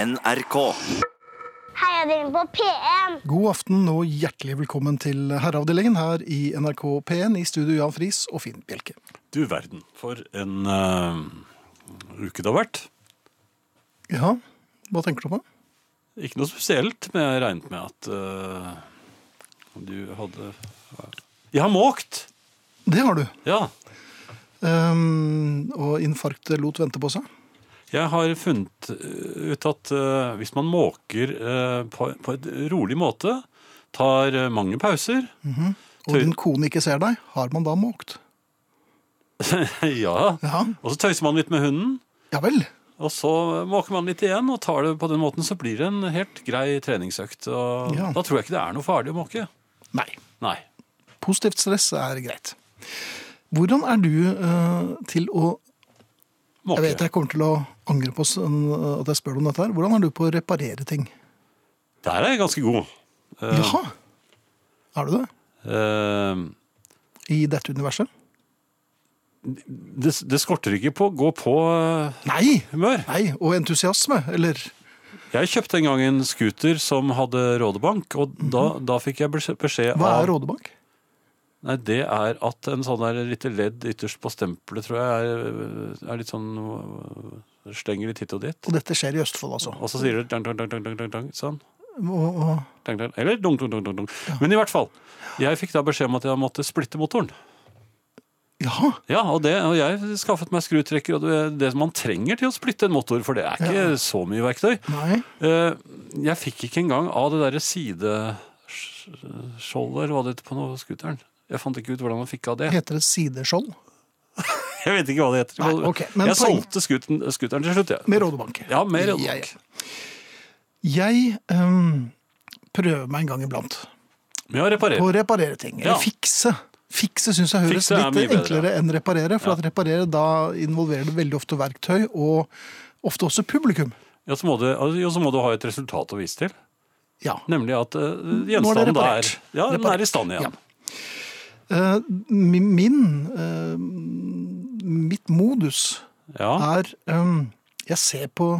NRK. Heiadelen på P1. God aften og hjertelig velkommen til Herreavdelingen her i NRK P1 i studio Jan Friis og Finn Bjelke. Du verden, for en eh, uke det har vært. Ja, hva tenker du på? Ikke noe spesielt, men jeg regnet med at eh, du hadde Jeg har måkt! Det har du. Ja. Ehm, og infarktet lot vente på seg. Jeg har funnet eh, ut at eh, hvis man måker eh, på, på et rolig måte, tar eh, mange pauser Og Tøy- din kone ikke ser deg, har man da måkt? Ja. Ja, Og så tøyser man litt med hunden, ja vel. og så måker man litt igjen og tar det på den måten, så blir det en helt grei treningsøkt. Og Ja. da tror jeg ikke det er noe farlig å måke. Nei. Nei. Positivt stress er greit. Hvordan er du eh, til å Jeg vet Måke. jeg kommer til å angre på s- en- eh, at jeg spør deg om dette her. Hvordan er du på å reparere ting? Der er jeg ganske god. Eh, Jaha. Er du det? Eh, I dette universet? det, det skorter ikke på å gå på eh, Nei! humør. Nei, og entusiasme, eller Jeg kjøpte en gang en scooter som hadde rådebank, og da, da fikk jeg beskjed beskjed Mhm. Hva er av Rådebank? Nei, Det er at en sånn der lite ledd ytterst på stempelet tror jeg er, er litt sånn øh, Slenger litt hit og dit. Og dette skjer i Østfold, altså. Og så sier det dang, dang, dang, dang, dang, dang, dang, sånn. Og, og, Dang, dang, eller dong, dong, dong, dong, dong. Men i hvert fall. Jeg fikk da beskjed om at jeg måtte splitte motoren. ja, Ja, og, det, og jeg skaffet meg skrutrekker og det, det man trenger til å splitte en motor, for det er ikke så mye verktøy. nei. Eh, Jeg fikk ikke engang av det derre sideskjoldet, eller hva det heter på noe scooteren. Jeg fant ikke ut hvordan man fikk av det. Heter det sideskjold? Jeg vet ikke hva det heter. Nei, ok, men jeg poeng- solgte scooteren, scooteren til slutt, jeg. Med Rådebank. Ja, mer enn Jeg- nok. Jeg ehm, prøver meg en gang iblant Men jeg har på å reparert. reparere ting. Eller Ja. fikse. Fikse syns jeg høres Fikse er litt eh, mye bedre. enklere enn reparere, for at reparere da involverer det veldig ofte verktøy, og ofte også publikum. Ja, så må du, altså, jo, så må du ha et resultat å vise til. Ja. Nemlig at eh, Nå er det gjenstanden da er reparert. Ja, den Reparert. er i stand igjen. Eh, mi- min eh, Mitt modus Ja. er ehm, Jeg ser på,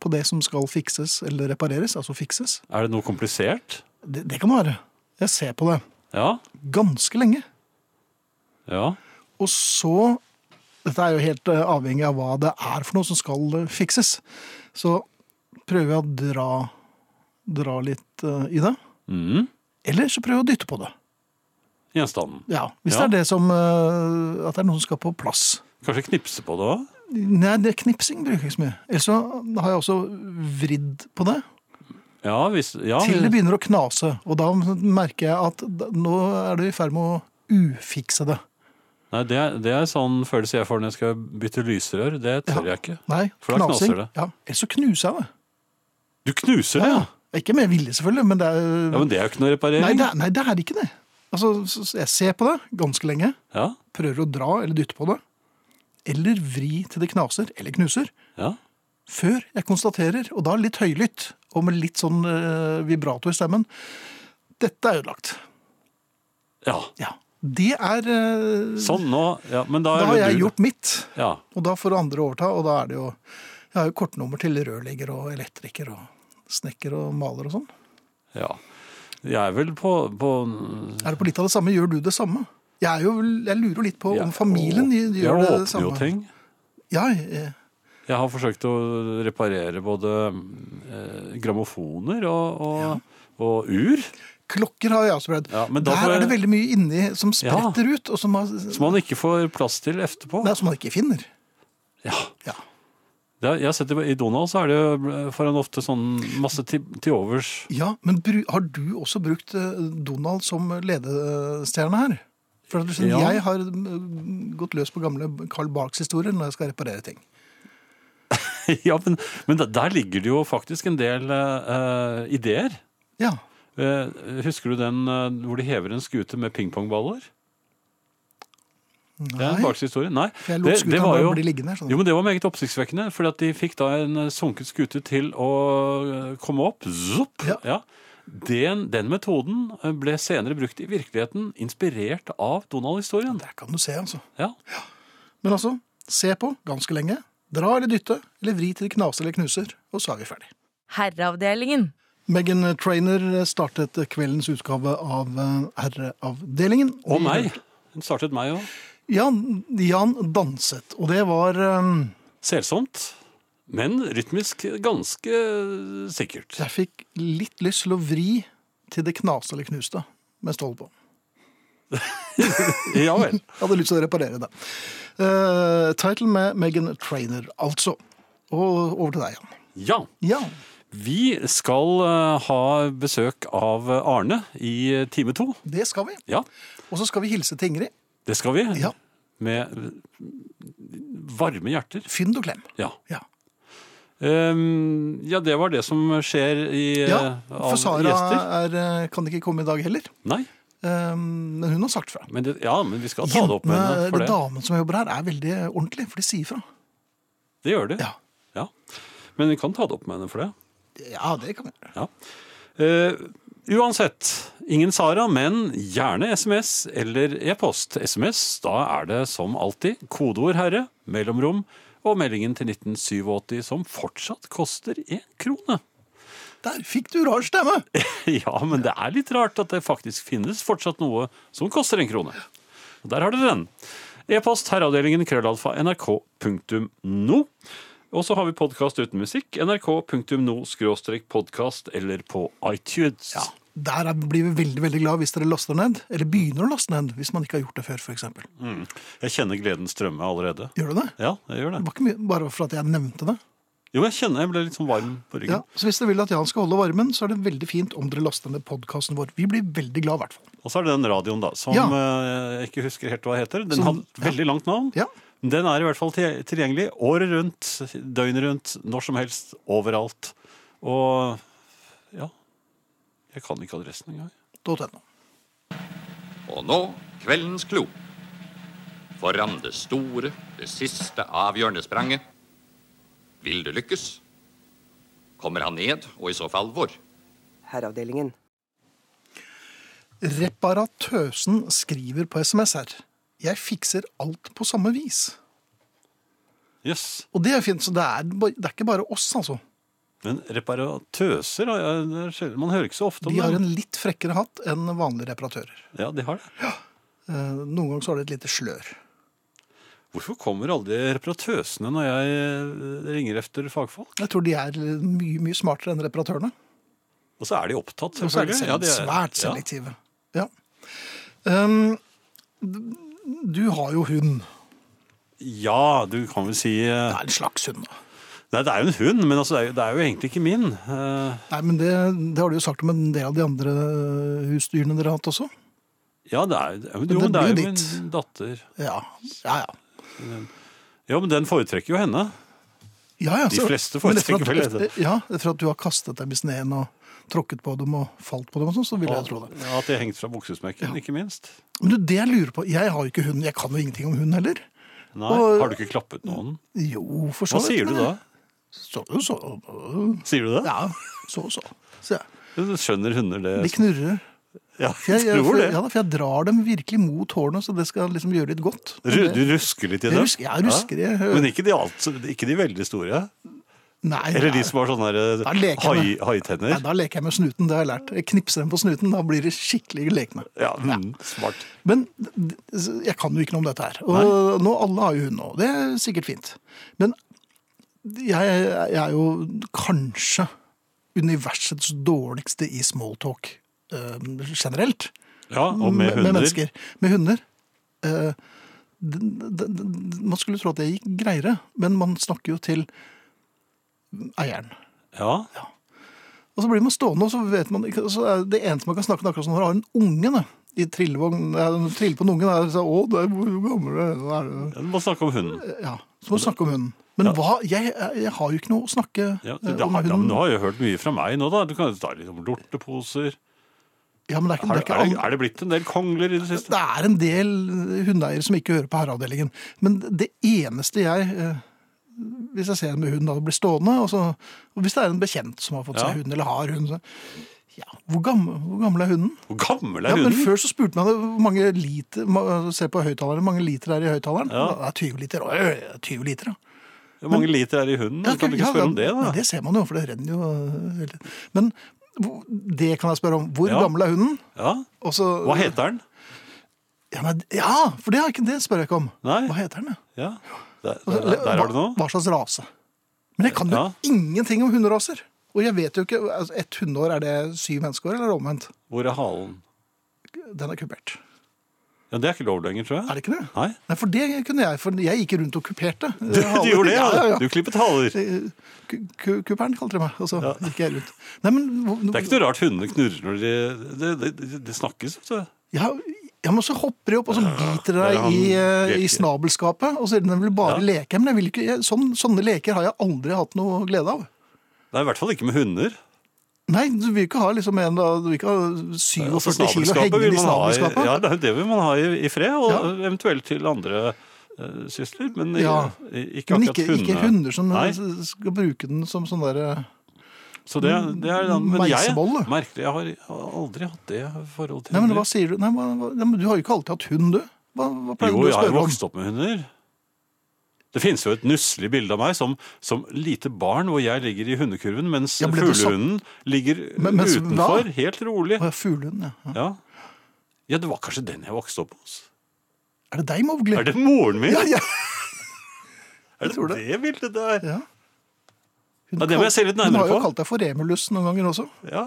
på det som skal fikses eller repareres, altså fikses. Er det noe komplisert? Det, det kan det være. Jeg ser på det Ja. ganske lenge. Ja. Og så Dette er jo helt eh, avhengig av hva det er for noe som skal eh, fikses. Så prøver jeg å dra, dra litt eh, i det. Mm. Eller så prøver jeg å dytte på det. Gjenstanden. Ja, Hvis det Ja. er det som eh, At det er noe som skal på plass. Kanskje knipse på det òg? Nei, det knipsing bruker jeg ikke så mye. Ellers så har jeg også vridd på det Ja, hvis Ah, ja, til det begynner å knase. Og da merker jeg at da- nå er det i ferd med å ufikse det. Nei, det er, det er sånn følelse jeg får når jeg skal bytte lysrør. Det tør jeg ikke. Nei, For da knasing. knaser det. Ja, Ellers så knuser jeg det. Du knuser det, ja! Ikke med vilje, selvfølgelig, men det er, Ja, Men det er jo ikke noe reparering. nei, det er Nei, det er ikke det. Altså, så- så jeg ser på det ganske lenge, Ja, prøver å dra eller dytte på det, eller vri til det knaser eller knuser, ja. før jeg konstaterer, og da litt høylytt, og med litt sånn eh, vibrato i stemmen, dette er ødelagt. ja. Ja. Det er eh, Sånn, nå ja, Men da, Da er har det jeg du- gjort mitt, Ja. og da får andre overta, og da er det jo Jeg har jo kortnummer til rørlegger og elektriker og snekker og maler og sånn. ja. Jeg er vel på, på Er det på litt av det samme, gjør du det samme? Jeg, er jo, jeg lurer jo litt på jeg- om familien å- gjør det Jeg åpner samme. jo ting. Ja, eh, Jeg har forsøkt å reparere både eh, grammofoner og, og, og ur. klokker har jeg også prøvd. Ja, men da Der får er det jeg- veldig mye inni som spretter ut, og som, har, Som man ikke får plass til etterpå. nei, som man ikke finner. Ja. Ja. Det er- Jeg har sett det I Donald så er det jo for en ofte sånn masse til, til overs. ja, men bru, har du også brukt eh, Donald som ledestjerne her? For at du skjønner, Ja. Jeg har mm, gått løs på gamle Carl Barks historier når jeg skal reparere ting. ja, men, men der- der ligger det jo faktisk en del eh, ideer. Ja, Eh, husker du den eh, hvor de hever en skute med pingpongballer? Det er Nei. en bakhistorie. Nei. for jeg lot det, det skuta var bare jo, bli liggende. her, Sånn. jo, men det var meget oppsiktsvekkende, for at de fikk da en eh, sunket skute til å eh, komme opp. Zopp! Ja. Ja. Den, den metoden eh, ble senere brukt i virkeligheten, inspirert av Donald-historien. Der kan du se, altså. Ja. Men altså, se på ganske lenge. Dra eller dytte, eller vri til det knaser eller knuser, og så er vi ferdig. Herreavdelingen. Megan Trainer startet kveldens utgave av eh, Herreavdelingen. Og meg. Hun startet meg òg. Jan, Jan danset, og det var eh, Selsomt. Men rytmisk ganske sikkert. Jeg fikk litt lyst til å vri til det knaste eller knuste mens det holdt på. Ja vel. Jeg hadde lyst til å reparere det. Eh, title med Megan Trainer, altså. Og over til deg, Jan. Ja. Ja. Vi skal eh, ha besøk av Arne i time to. Det skal vi. Ja, Og så skal vi hilse til Ingrid. det skal vi. Ja. Med varme hjerter. Fynd og klem. Ja. Ja. Ehm, ja, det var det som skjer i eh, ja av for Sara gjester. er, eh, kan ikke komme i dag heller. Nei, Eh, men hun har sagt fra. men det, ja, men vi skal ta det opp med henne for eller det. damen som jobber her, er veldig ordentlig, for de sier fra. Det gjør det. Ja, Ja. Men vi kan ta det opp med henne for det. ja det kan vi gjøre. Ja. Eh, uansett, ingen Sara, men gjerne SMS eller e-post. SMS, da er det som alltid kodeord herre, mellomrom og meldingen til 1987 som fortsatt koster én krone. Der fikk du rar stemme! ja, men det er litt rart at det faktisk finnes fortsatt noe som koster en krone. Og der har dere den. E-post herreavdelingen krøllalfa nrk.no. Og så har vi podkast uten musikk. nrk.no skråstrek podkast eller på iTunes. Ja, Der er- blir vi veldig veldig glad hvis dere laster ned, eller begynner å laste ned hvis man ikke har gjort det før. For eksempel. Jeg kjenner gleden strømme allerede. Gjør du det? Ja, jeg gjør Det det. var ikke mye, bare for at jeg nevnte det. Jo, jeg kjenner jeg ble litt sånn varm Ja, på ryggen. så Hvis dere vil at Jan skal holde varmen, så er det veldig fint om dere laster ned podkasten vår. Vi blir veldig glad i hvert fall. Og så er det den radioen, da, som Ja. eh, jeg ikke husker helt hva heter. Den Som- har veldig langt navn. Ja. Den er i hvert fall til- tilgjengelig året rundt, døgnet rundt, når som helst, overalt. Og ja Jeg kan ikke adressen engang. .no. Og nå kveldens klo. Foran det store, det siste avgjørende spranget. Vil det lykkes? Kommer han ned, og i så fall hvor? Herreavdelingen. Reparatøsen skriver på SMS her. Jeg fikser alt på samme vis. Jøss. Yes. Og det er fint, så det er, ba- det er ikke bare oss, altså. Men reparatøser har jeg- det Sånn er sjelden- Man hører ikke så ofte om De har det. en litt frekkere hatt enn vanlige reparatører. Ja, de har det. Eh, Noen ganger så har de et lite slør. Hvorfor kommer aldri reparatøsene når jeg eh, ringer efter fagfolk? Jeg tror de er mye, mye smartere enn reparatørene. Og så er de opptatt, Og så er de selvfølgelig. selv, Ja, de er- svært ja. selektive. Ja. Um, d- du har jo hund. Ja, du kan vel si eh, Det er en slags hund. da. Nei, det er jo en hund, men altså, det, er jo, det er jo egentlig ikke min. Eh, Nei, men det, det har du jo sagt om en del av de andre husdyrene dere har hatt også. ja, det er, jo- det jo, men det er blir jo jo ditt. min datter. Ja, ja. ja. Ja, men den foretrekker jo henne. Ja, ja, De så- fleste men etter at- foretrekker vel det. etter- Ja, etter at du har kastet dem i sneen og tråkket på dem og falt på dem og sånn, så vil jeg tro det. Ja, At de er hengt fra buksesmekken, ikke minst. Men du, det jeg lurer på, jeg har jo ikke hund, jeg kan jo ingenting om hund heller. Nei, Og- Har du ikke klappet noen? Jo, for så Hva sier du men- da? Så, så, øh, Sier du det? ja, så, så. Så jeg, Du Skjønner hunder det? de knurrer. Ja, For jeg jeg, jeg, tror for, det. ja, da, for jeg drar dem virkelig mot hårene, så det skal liksom gjøre litt godt. Og Ru- det- Du rusker litt i Jeg dem? rusker- jeg rusker i- Ja. Men ikke de, alt, ikke de veldig store? Nei, Eller nei. de som har sånne der, Da leker hai, jeg med- haitenner? Nei, da leker jeg med snuten, det har jeg lært. Jeg knipser dem på snuten, da blir de skikkelig lekne. Ja, mm, smart. Men d- d- jeg kan jo ikke noe om dette her. Og nå, alle har jo hund nå, det er sikkert fint. Men jeg, jeg er jo kanskje universets dårligste i smalltalk eh, generelt. Ja, og Med med hunder. mennesker. Med hunder. Eh, d- d- d- man skulle tro at det gikk greiere, men man snakker jo til eieren. Ja, Og så blir man stående, og så vet man ikke så er Det eneste man kan snakke om, akkurat som når man har en unge da, i trillevogn ja, den Triller på en unge der og sier 'Å, det er, hvor gammel er du?' er Ja, Du må snakke om hunden. du?» Ja, så må du snakke om hunden. Men hva Jeg, jeg har jo ikke noe å snakke Ja, eh, du, det om har, ja, hunden. men du har jo hørt mye fra meg nå, da. Du kan jo ta litt om lorteposer. Ja, men det er ikke, det er Er, det- ikke er, det- alle- er det blitt en del kongler i det siste? Det er en del eh, hundeeiere som ikke hører på herreavdelingen. Men det eneste jeg eh, Hvis jeg ser en med hund, da det blir stående og, så, og Hvis det er en bekjent som har fått Ja. seg hund, eller har hund så, ja, hvor, gammel, hvor gammel er hunden? Hvor gammel er Ja, men hunden? Før så spurte man det, hvor mange liter ma- Se på høyttaleren, hvor mange liter er det i høyttaleren? Ja. Det er 20 liter. Øy, 20 liter, ja. Hvor mange liter er det i hunden? Du kan ok, ikke spørre om det, ja, da. Det ser man jo, for det renner jo hele tiden. Men hvor- det kan jeg spørre om. Hvor Ja. gammel er hunden? Ja. Og så- Hva heter den? Ja, men, ja for det, har ikke, det spør jeg ikke om. Nei. Hva heter den? ja? Ja. Der, der, der, der har du noe. Altså, Hva, hva slags rase? Men jeg kan jo Ja. ingenting om hunderaser. Og jeg vet jo ikke, altså, Et hundeår, er det syv menneskeår, eller omvendt? Hvor er halen? Den er kupert. Ja, Det er ikke lov lenger, tror jeg. Er det ikke det? Nei. Nei, for det kunne jeg. For jeg gikk rundt og kuperte. Du, du gjorde det, ja. ja, ja. Du klippet haler. Ku- ku- Kuperen kalte de meg, og så gikk jeg rundt. Nei, men, Det er ikke noe rart hundene knurrer når de Det, det, det, det snakkes, vet du. ja, ja, men så hopper de opp, og så biter de der deg han i, eh, i leker. snabelskapet. Og sier de vil bare leke. Men jeg vil ikke, jeg, sånn, sånne leker har jeg aldri hatt noe glede av. Det er i hvert fall ikke med hunder. Nei, du vil ikke ha liksom en da, du vil ikke ha 47 Altså, kilo snabelskapet hengende vil i man ha i, snabelskapet. ja, det er det vil man ha i, i fred, og Ja. eventuelt til andre eh, sysler. Men i- Ja. i- ikke Men akkurat ikke, hundene. ikke hunder som Nei, skal bruke den som sånn derre så det, det er, men jeg, meisebolle. merkelig, jeg har jeg har aldri hatt det forhold til Nei, men hva sier du? Nei, hva, hva, nei, men du har jo ikke alltid hatt hund, du. Hva, hva pleier Jo, du å jeg har jo spørre om? vokst opp med hunder. Det finnes jo et nusselig bilde av meg som, som lite barn hvor jeg ligger i hundekurven, mens Ja, ble du satt- fuglehunden ligger Men- mens hva? utenfor, helt rolig. Å, ja, Fuglehund, ja. Ja. ja, det var kanskje den jeg vokste opp hos. Er det deg, Mowgli? Er det moren min? Ja, ja. er det tror det. det, bildet der? ja. Hun Ja, det må jeg se litt Hun nærmere har jo på. kalt deg for Remulus noen ganger også. Ja.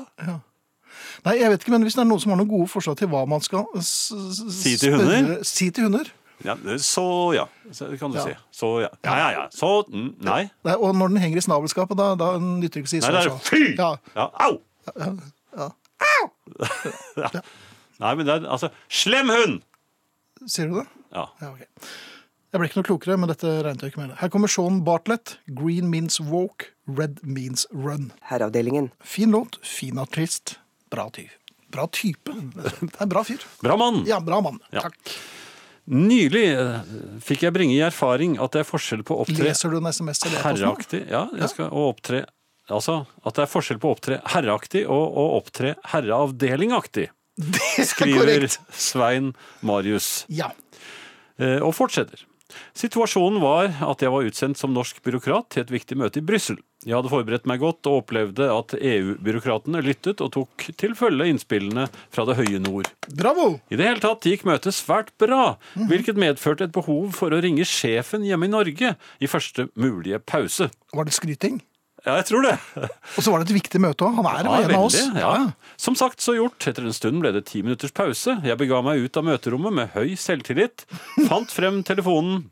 Nei, jeg vet ikke, men Hvis det er noen som har noen gode forslag til hva man skal s- s- Si til hunder? spørre- Si til hunder. ja. Så ja, så, det kan du Ja. si. Så ja. Ja, ja, ja. Så mm, nei. Nei, og når den henger i snabelskapet, da, da nytter det ikke å si Nei, det er så. fy! Ja, Ja, au! Au! Ja. Nei, men det er altså Slem hund! sier du det? Ja. Ja, ok. Jeg ble ikke noe klokere, men dette regnet jeg ikke med. Her kommer Sean Bartlett. Green means walk, red means run. Herreavdelingen. Fin låt, fin artist, bra tyv. Bra type. Det er en bra fyr. Bra mann! Ja, bra mann. Ja. Takk. Nylig eh, fikk jeg bringe i erfaring at det er forskjell på å opptre Leser du en SMS eller e-post nå? herreaktig ja, jeg skal, og opptre Altså, at det er forskjell på å opptre herreaktig og å opptre herreavdelingaktig, Det er skriver korrekt. Svein Marius. Ja. Eh, og fortsetter. Situasjonen var at jeg var utsendt som norsk byråkrat til et viktig møte i Brussel. Jeg hadde forberedt meg godt og opplevde at EU-byråkratene lyttet og tok til følge innspillene fra det høye nord. Bravo! I det hele tatt gikk møtet svært bra, hvilket medførte et behov for å ringe sjefen hjemme i Norge i første mulige pause. Var det skryting? Ja, jeg tror det. Og så var det et viktig møte òg. Han er Ja, en av oss. veldig, Ja, Ja. Som sagt så gjort, etter en stund ble det ti minutters pause. Jeg bega meg ut av møterommet med høy selvtillit, fant frem telefonen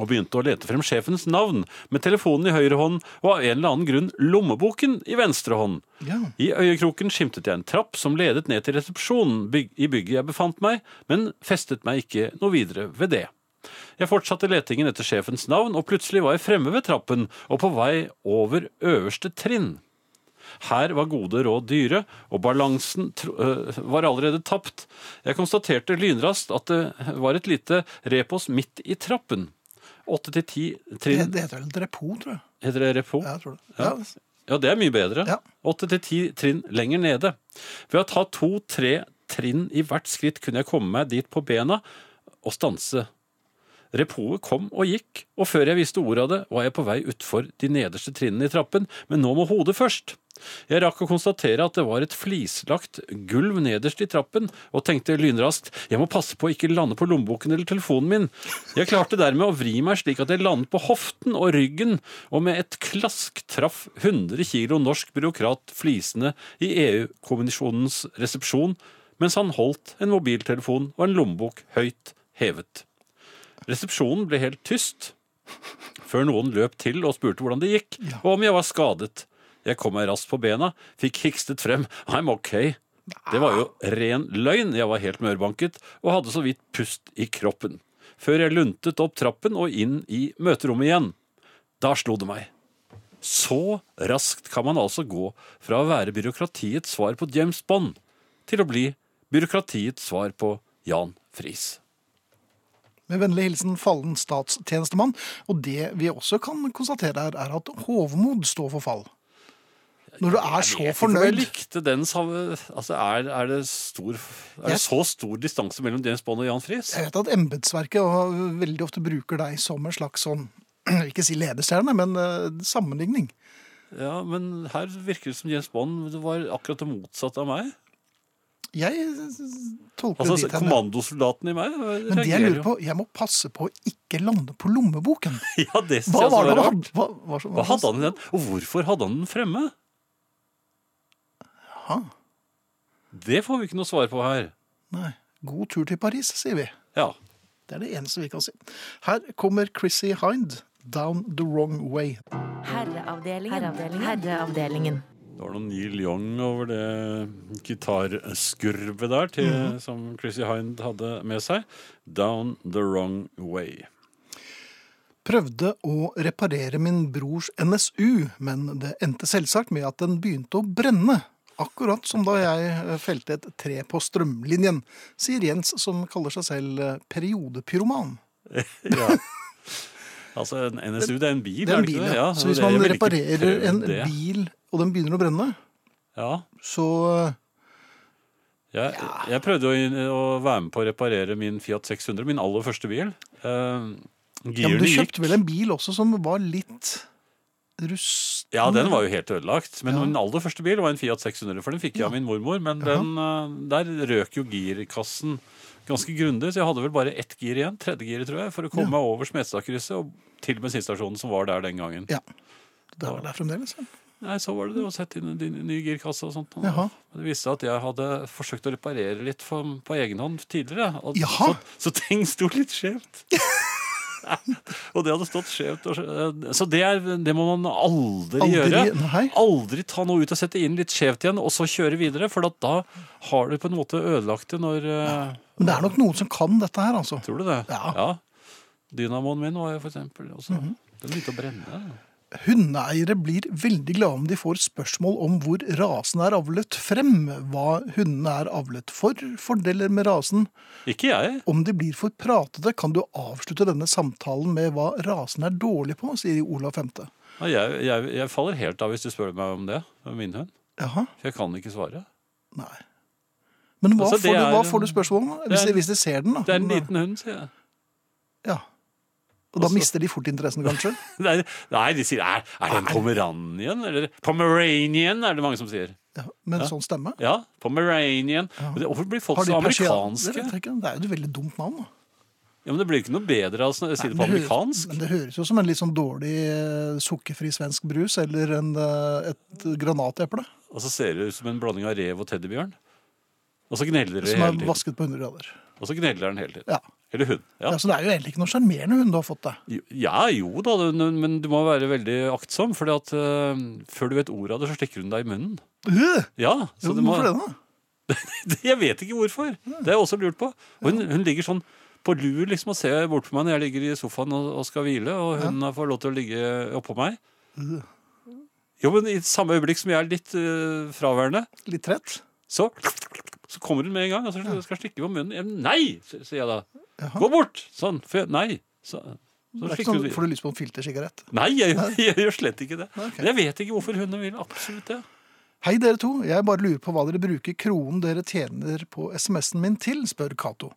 og begynte å lete frem sjefens navn, med telefonen i høyre hånd og av en eller annen grunn lommeboken i venstre hånd. Ja. I øyekroken skimtet jeg en trapp som ledet ned til resepsjonen byg i bygget jeg befant meg, men festet meg ikke noe videre ved det. Jeg fortsatte letingen etter sjefens navn, og plutselig var jeg fremme ved trappen og på vei over øverste trinn. Her var gode råd dyre, og balansen tro, øh, var allerede tapt. Jeg konstaterte lynraskt at det var et lite repos midt i trappen. Åtte til ti Det, trinn det heter vel et repo, tror jeg. Heter det repo? Ja, jeg tror det. Ja. Ja, det er mye bedre. Ja. Åtte til ti trinn lenger nede. Ved å ta to-tre trinn i hvert skritt kunne jeg komme meg dit på bena og stanse. Repoet kom og gikk, og før jeg visste ordet av det, var jeg på vei utfor de nederste trinnene i trappen, men nå må hodet først. Jeg rakk å konstatere at det var et flislagt gulv nederst i trappen, og tenkte lynraskt jeg må passe på å ikke lande på lommeboken eller telefonen min. Jeg klarte dermed å vri meg slik at jeg landet på hoften og ryggen, og med et klask traff 100 kilo norsk byråkrat flisene i EU-kommisjonens resepsjon, mens han holdt en mobiltelefon og en lommebok høyt hevet. Resepsjonen ble helt tyst, før noen løp til og spurte hvordan det gikk, og om jeg var skadet. Jeg kom meg raskt på bena, fikk hikstet frem I'm ok. Det var jo ren løgn, jeg var helt mørbanket og hadde så vidt pust i kroppen. Før jeg luntet opp trappen og inn i møterommet igjen. Da slo det meg. Så raskt kan man altså gå fra å være byråkratiets svar på James Bond til å bli byråkratiets svar på Jan Friis. Med vennlig hilsen fallen statstjenestemann. Og det vi også kan konstatere her, er at hovmod står for fall. Når du er så Jeg vet ikke om Jeg fornøyd likte den samme altså er, er, det stor, er det Jeg- så stor distanse mellom James Bond og Jan Friis? Jeg vet at embetsverket og veldig ofte bruker deg som en slags sånn Ikke si ledestjerne, men eh, sammenligning. Ja, men her virker det som James Bond det var akkurat det motsatte av meg. Jeg tolker Altså, det dit hen. Kommandosoldaten i meg eh, Men det jeg reagerer lurer jo. på, jeg må passe på å ikke lande på lommeboken. Ja, det synes Hva jeg også var det var han rart. hva, hva, hva, Hva hadde han i den? Og hvorfor hadde han den fremme? Jaha. Det får vi ikke noe svar på her. Nei. God tur til Paris, sier vi. Ja. Det er det eneste vi kan si. Her kommer Chrissy Hind, 'Down the Wrong Way'. Herreavdelingen. Herreavdelingen. Det var noe Neil Young over det gitarskurvet der til, Mhm. som Chrissy Hind hadde med seg. Down the wrong way. Prøvde å reparere min brors NSU, men det endte selvsagt med at den begynte å brenne. Akkurat som da jeg eh, felte et tre på strømlinjen, sier Jens, som kaller seg selv eh, periodepyroman. Ja. altså, en NSU, det er en bil, Det er en det bil, ikke det? ja. Så hvis det- jeg man vil ikke reparerer prøve en det. bil, og den begynner å brenne, Ja. så eh, Jeg, jeg prøvde å, å være med på å reparere min Fiat 600, min aller første bil. Uh, Ja, men du girene gikk. kjøpte vel en bil også som var litt rust... Ja, den var jo helt ødelagt. Men min aller første bil var en Fiat 600, for den fikk jeg av min mormor. Men den, eh, der røk jo girkassen ganske grundig, så jeg hadde vel bare ett gir igjen, tredje giret, tror jeg, for å komme meg over Smestadkrysset og til bensinstasjonen som var der den gangen. Ja. Det er vel der fremdeles. ja. Nei, så var det det å sette inn en din- ny girkasse og sånt. Jaha. Men Det viste seg at jeg hadde forsøkt å reparere litt for, på egen hånd tidligere. Og, Jaha. Så, så ting sto litt skjevt. Nei, og det hadde stått skjevt. Og, skje- så det, er, det må man aldri, Aldri, gjøre. nei. Aldri ta noe ut og sette inn litt skjevt igjen, og så kjøre videre. For at da har du på en måte ødelagt det når eh, Men det er nok noen som kan dette her, altså. Tror du det? Ja. Mhm. Dynamoen min var jo for eksempel også. Den begynte å brenne. Hundeeiere blir veldig glade om de får spørsmål om hvor rasen er avlet frem, hva hundene er avlet for, fordeler med rasen. Ikke jeg. Om de blir for pratete, kan du avslutte denne samtalen med hva rasen er dårlig på, sier Olav 5. Nei, Jeg, jeg, jeg faller helt av hvis du spør meg om det, om min hund. Jaha, For jeg kan ikke svare. nei. Men hva, Altså, det får, du, hva er- får du spørsmål om? Hvis, er- de- hvis de ser den, da. Det er en liten hund, sier jeg. Ja. Og da Altså- mister de fort interessen, kanskje? Nei, nei de sier er, er det en pomeranian? Eller pomeranian, er det mange som sier. Ja, med en sånn stemme? Ja, pomeranian. Men det- Hvorfor blir folk Har de så persia- amerikanske? Det vet Ja, jeg ikke, det er jo et veldig dumt navn. da. men Det blir jo ikke noe bedre altså, av å sn- si Men det på det høres- amerikansk. Men det høres jo som en litt sånn dårlig eh, sukkerfri svensk brus eller en, eh, et granateple Og så ser det ut som en blanding av rev og teddybjørn. Og så gneller det som hele er tiden. vasket på 100 grader. Og så gneller den hele tiden. Ja. Eller hun. Ja. Ja, så det er jo egentlig ikke noe sjarmerende hund du har fått deg. Jo- ja, jo da, det- men du må være veldig aktsom, for før du vet ordet av det, så stikker hun deg i munnen. Øh! Ja, så Jo, det må, Hvorfor det, da? Jeg vet ikke hvorfor. Det har jeg også lurt på. Og Hun, hun ligger sånn på lur liksom og ser bort på meg når jeg ligger i sofaen og, og skal hvile, og hun får lov til å ligge oppå meg. Jo, men i samme øyeblikk som jeg er litt øh, fraværende, Litt trett? så, så kommer hun med en gang og så skal- skal stikke på munnen. Jeg, nei, s- sier jeg da. Jaha. Gå bort! Sånn. For jeg, nei. Det Så, så er ikke stikker sånn, hun får du lyst på en filtersigarett? Nei, jeg, jeg gjør slett ikke det. Nei, ok. Men jeg vet ikke hvorfor hun vil absolutt det. Hei, dere to. Jeg bare lurer på hva dere bruker kronen dere tjener på SMS-en min til, spør Cato.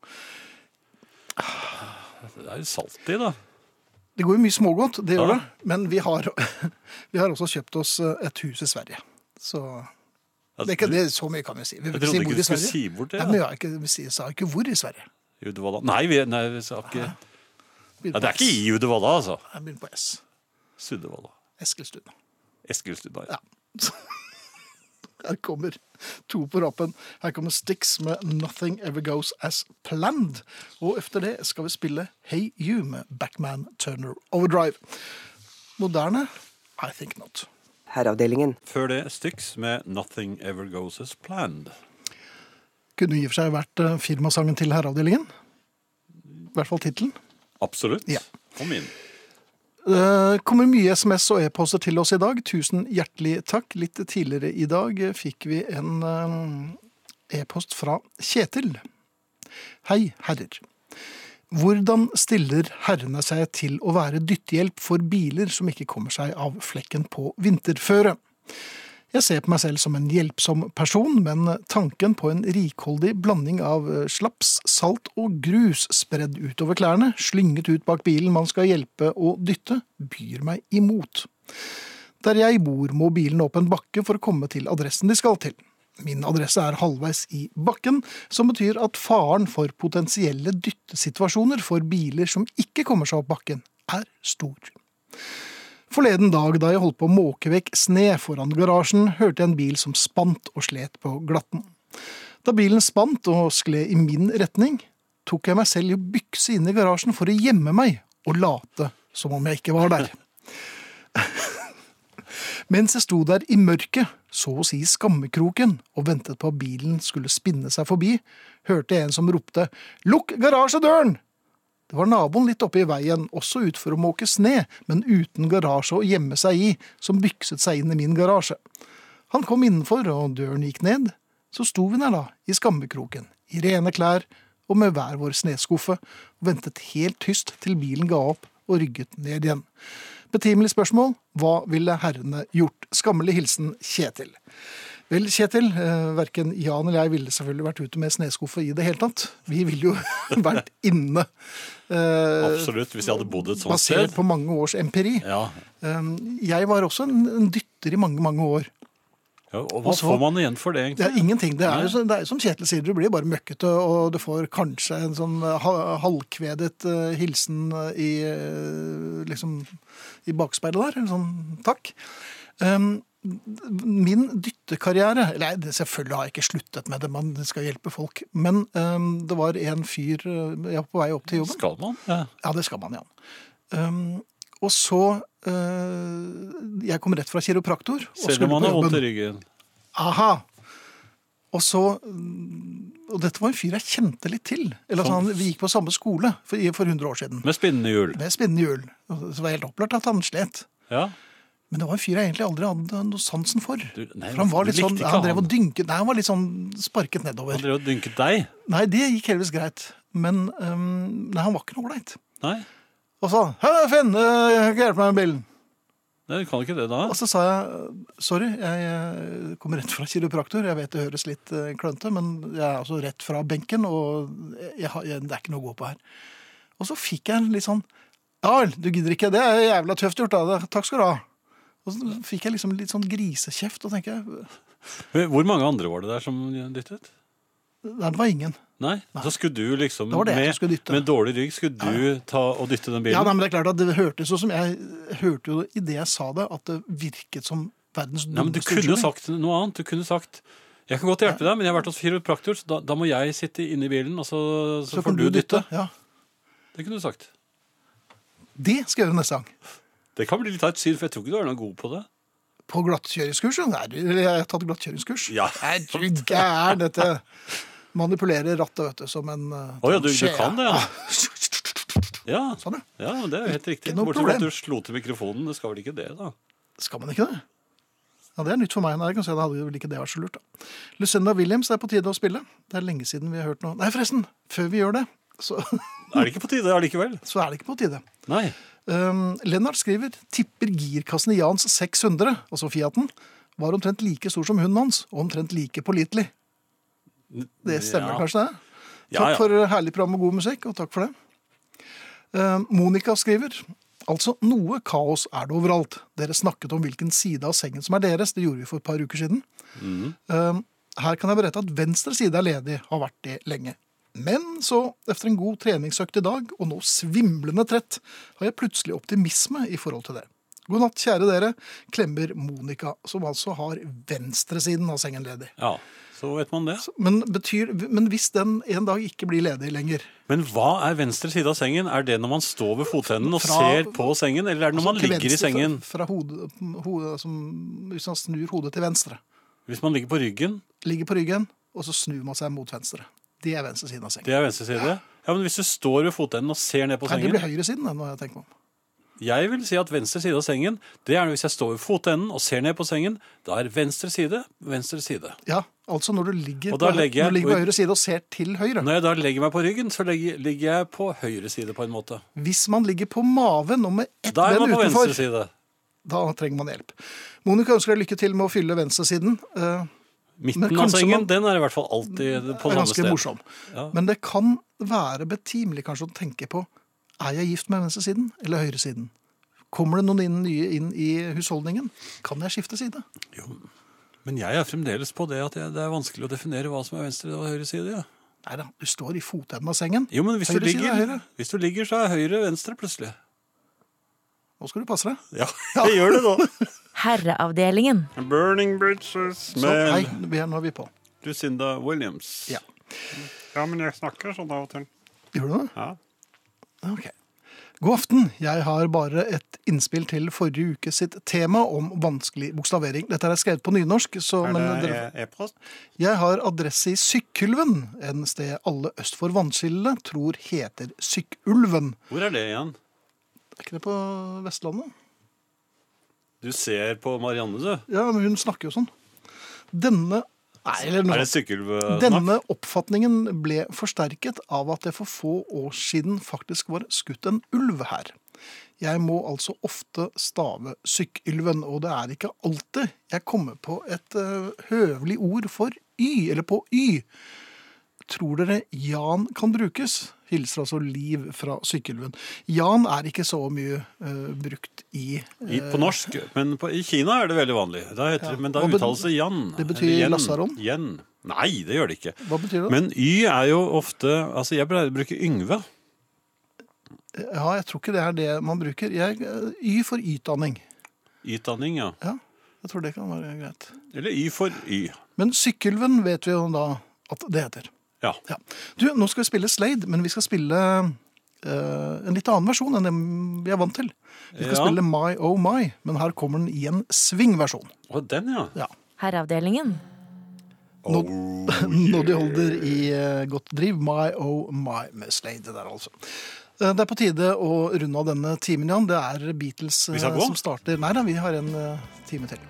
Det er jo salt i, da. Det går jo mye smågodt, det gjør Ja. det. Men vi har, vi har også kjøpt oss eh, et hus i Sverige. Så Altså, det, er ikke- det er så mye kan vi si. Vi vil Jeg ikke trodde si hvor ikke i du skulle Sverige. si bort det. Nei, men jeg, har ikke, vi sier- sa ikke hvor i Sverige. I Uddevalla. Nei, vi, nei, vi sa ikke Begynner ja, Det er på ikke S. i Uddevalla, altså. Jeg begynner på S. Suddevalla. Eskilstuna. Eskilstuna. Ja. Ja. Her kommer to på rappen. Her kommer Stix med 'Nothing Ever Goes As Planned'. Og etter det skal vi spille 'Hey You' med Backman Turner Overdrive. Moderne? I think not. Herreavdelingen. Før det Styx med 'Nothing Ever Goes As Planned'. Kunne i og for seg vært eh, firmasangen til Herreavdelingen. I hvert fall tittelen. Absolutt. Ja. Kom inn. Det Eh, kommer mye SMS og e-poster til oss i dag. Tusen hjertelig takk. Litt tidligere i dag fikk vi en eh, e-post fra Kjetil. Hei, herrer. Hvordan stiller herrene seg til å være dyttehjelp for biler som ikke kommer seg av flekken på vinterføre? Jeg ser på meg selv som en hjelpsom person, men tanken på en rikholdig blanding av eh, slaps, salt og grus spredd utover klærne, slynget ut bak bilen man skal hjelpe og dytte, byr meg imot. Der jeg bor, må bilen opp en bakke for å komme til adressen de skal til. Min adresse er halvveis i bakken, som betyr at faren for potensielle dyttesituasjoner for biler som ikke kommer seg opp bakken, er stor. Forleden dag da jeg holdt på å måke vekk sne foran garasjen, hørte jeg en bil som spant og slet på glatten. Da bilen spant og skled i min retning, tok jeg meg selv i å bykse inn i garasjen for å gjemme meg og late som om jeg ikke var der. Mens jeg sto der i mørket, så å si skammekroken, og ventet på at bilen skulle spinne seg forbi, hørte jeg en som ropte 'Lukk garasjedøren!' Det var naboen litt oppe i veien, også ut for å måke sne, men uten garasje å gjemme seg i, som bykset seg inn i min garasje. Han kom innenfor, og døren gikk ned. Så sto vi der da, i skammekroken, i rene klær og med hver vår sneskuffe, og ventet helt tyst til bilen ga opp og rygget ned igjen. Betimelig spørsmål, hva ville herrene gjort? Skammelig hilsen Kjetil. Vel, Kjetil, eh, verken Jan eller jeg ville selvfølgelig vært ute med sneskuffe i det hele tatt. Vi ville jo vært inne. Eh, Absolutt, hvis jeg hadde bodd et sånt basert sted. på mange års empiri. Ja. Um, Jeg var også en, en dytter i mange, mange år. Ja, og hva Og så- får man igjen for det, Det er egentlig? ingenting. Det er, jo så- det er jo som Kjetil sier, du blir bare møkkete, og du får kanskje en sånn ha- halvkvedet eh, hilsen i, eh, liksom, i bakspeilet der. En sånn takk. Um, min dyttekarriere Nei, det, selvfølgelig har jeg ikke sluttet med det, man skal hjelpe folk. Men um, det var en fyr eh, jeg var på vei opp til jobben. Skal man? Ja. Ja, det skal man, Jan. Um, og så eh, Jeg kom rett fra kiropraktor. og Selv skulle om man på har vondt jobben. i ryggen. Aha! Og så mm, Og dette var en fyr jeg kjente litt til. Eller altså, Sånn. han, Vi gikk på samme skole for, i- for 100 år siden. Med spinnende hjul. Med spinnende hjul. Og Det var helt opplagt at han slet. Ja. Men det var en fyr jeg egentlig aldri hadde noe sansen for. Du- nei, for han var du litt likte sånn, ikke han drev han. og dynket Nei, han var litt sånn sparket nedover. Han drev og dynket deg. Nei, det gikk heldigvis greit. Men um, nei, han var ikke noe ålreit. Nei, Og sa 'Hei, Finn, eh, kan du hjelpe meg med bilen?' Nei, du kan ikke det da. Og så sa jeg sorry, jeg eh, kommer rett fra kiropraktor. Jeg vet det høres litt eh, klønete, men jeg er altså rett fra benken, og jeg, har- jeg, det er ikke noe å gå på her. Og så fikk jeg litt sånn Ja vel, du gidder ikke. Det er jævla tøft gjort av deg. Takk skal du ha. Og så fikk jeg liksom litt sånn grisekjeft, og tenker jeg Men Hvor mange andre var det der som dyttet? Nei, det var ingen. Nei, så skulle du liksom Da var det jeg som med, skulle dytte. med dårlig rygg skulle du ta og dytte den bilen? Ja, nei, men det er klart at det hørtes jo som Jeg hørte jo i det jeg sa det, at det virket som verdens Nei, men Du kunne jo unnskyldning. sagt noe annet. Du kunne sagt jeg kan godt hjelpe deg, men jeg har vært hos kiropraktor, så da, da må jeg sitte inne i bilen, og så, så, Så får kan du dytte. Ja. Det kunne du sagt. Det skal jeg gjøre neste gang. Det kan bli litt av et syn, for jeg tror ikke du er noe god på det. På glattkjøringskurs? ja. Nei, eller jeg har tatt glattkjøringskurs. Ja. Nei, du gæren, dette. Manipulerer rattet, vet du, som en eh, Å ja, du, du skje. kan det, ja. Ja, Sånn, ja. ja det er jo helt riktig. noe Bortsett fra problem. at du slo til mikrofonen. Det skal vel ikke det, da? Skal man ikke det? Ja, Det er nytt for meg. Nei, jeg kan si at det hadde vel ikke det vært så lurt. da. Lucinda Williams er på tide å spille. Det er lenge siden vi har hørt noe Nei, forresten, før vi gjør det, så, Er det ikke på tide allikevel? så er det ikke på tide. Nei. Um, Lennart skriver tipper girkassen i Jans 600, altså Fiaten, var omtrent like stor som hunden hans, og omtrent like pålitelig. Det stemmer ja. kanskje, det? Takk Ja, ja. for herlig program og god musikk, og takk for det. Eh, Monica skriver Altså, noe kaos er det overalt. Dere snakket om hvilken side av sengen som er deres. Det gjorde vi for et par uker siden. Mhm. Eh, her kan jeg berette at venstre side er ledig, har vært det lenge. Men så, etter en god treningsøkt i dag, og nå svimlende trett, har jeg plutselig optimisme i forhold til det. God natt, kjære dere, klemmer Monica, som altså har venstresiden av sengen ledig. Ja, så vet man det. Men, betyr, men hvis den en dag ikke blir ledig lenger Men hva er venstre side av sengen? Er det når man står ved fotenden og Fra- Altså ser på sengen, eller er det når man til ligger i venstre sengen? Fra, fra hodet, hodet som, Hvis man snur hodet til venstre, Hvis man ligger på ryggen, ligger på ryggen, og så snur man seg mot venstre. Det er venstresiden av sengen. det er venstre side. Ja, men hvis du står ved fotenden og ser ned på Nei, det blir sengen høyresiden, det, når jeg tenker meg om. Jeg vil si at venstre side av sengen, det er hvis jeg står ved fotenden og ser ned på sengen, da er venstre side venstre side. Ja, altså når du ligger, Og da på, legger jeg- når du ligger på høyre side og ser til høyre. Når jeg da legger meg på ryggen, så legger, ligger jeg på høyre side på en måte. Hvis man ligger på maven og med ett Da er ben man på utenfor, venstre side. Da trenger man hjelp. Monica ønsker deg lykke til med å fylle venstresiden. Eh, Men Midten av kanskje sengen man- den er i hvert fall alltid på er samme ganske sted. morsom. Ja. Men det kan være betimelig kanskje å tenke på er jeg gift med venstresiden eller høyresiden. Kommer det noen inn, nye inn i husholdningen? Kan jeg skifte side? Men jeg er fremdeles på det at jeg, det er vanskelig å definere hva som er venstre og høyre side. Ja. Nei da, du står i fotenden av sengen. Jo, men hvis du, Høyre side er ligger, høyre. hvis du ligger, så er høyre venstre plutselig. Nå skal du passe deg. Ja, det gjør det da. Herreavdelingen. Burning bridges Så, nei, vi er- nå er vi på. Lucinda Williams. Ja. men jeg snakker sånn av og til. Gjør du det? Ja. Ok. God aften. Jeg har bare et innspill til forrige uke sitt tema om vanskelig bokstavering. Dette er skrevet på nynorsk, så men dere, e-post? Jeg har adresse i Sykkylven, en sted alle øst for vannskillet tror heter Sykkylven. Hvor er det igjen? Er ikke det på Vestlandet? Du ser på Marianne, du. Ja, men hun snakker jo sånn. Denne Nei, eller noe Er det sånt. sykkelsnakk? Denne oppfatningen ble forsterket av at det for få år siden faktisk var skutt en ulv her. Jeg må altså ofte stave sykkylven, og det er ikke alltid jeg kommer på et eh, høvelig ord for y, eller på y. Tror dere Jan kan brukes? Hilser altså Liv fra Sykkylven. Jan er ikke så mye eh, brukt i eh, I, på norsk, men på, i Kina er det veldig vanlig. Da Ja. heter, det- Men da Hva bet- uttales det yan. det betyr Eller yen. lasaron? Yen. Nei, det gjør det ikke. Hva betyr det? Men Y er jo ofte Altså, jeg pleier å bruke Yngve. ja, jeg tror ikke det er det man bruker. Jeg, eh, y for ytdanning. Ytanning, ja. Ja, jeg tror det kan være greit. Eller Y for Y. Men Sykkylven vet vi jo da at det heter. Ja. Ja. Du, nå skal vi spille Slade, men vi skal spille eh, en litt annen versjon enn den vi er vant til. Vi skal Ja. spille My Oh My, men her kommer den i en svingversjon. Og den, ja. Ja. Herreavdelingen. Nod Oh, Noddy Holder i eh, godt driv. My Oh My med Slade der, altså. Eh, Det er på tide å runde av denne timen, Jan. Det er Beatles eh, Vi skal gå? som starter Nei da, vi har en eh, time til.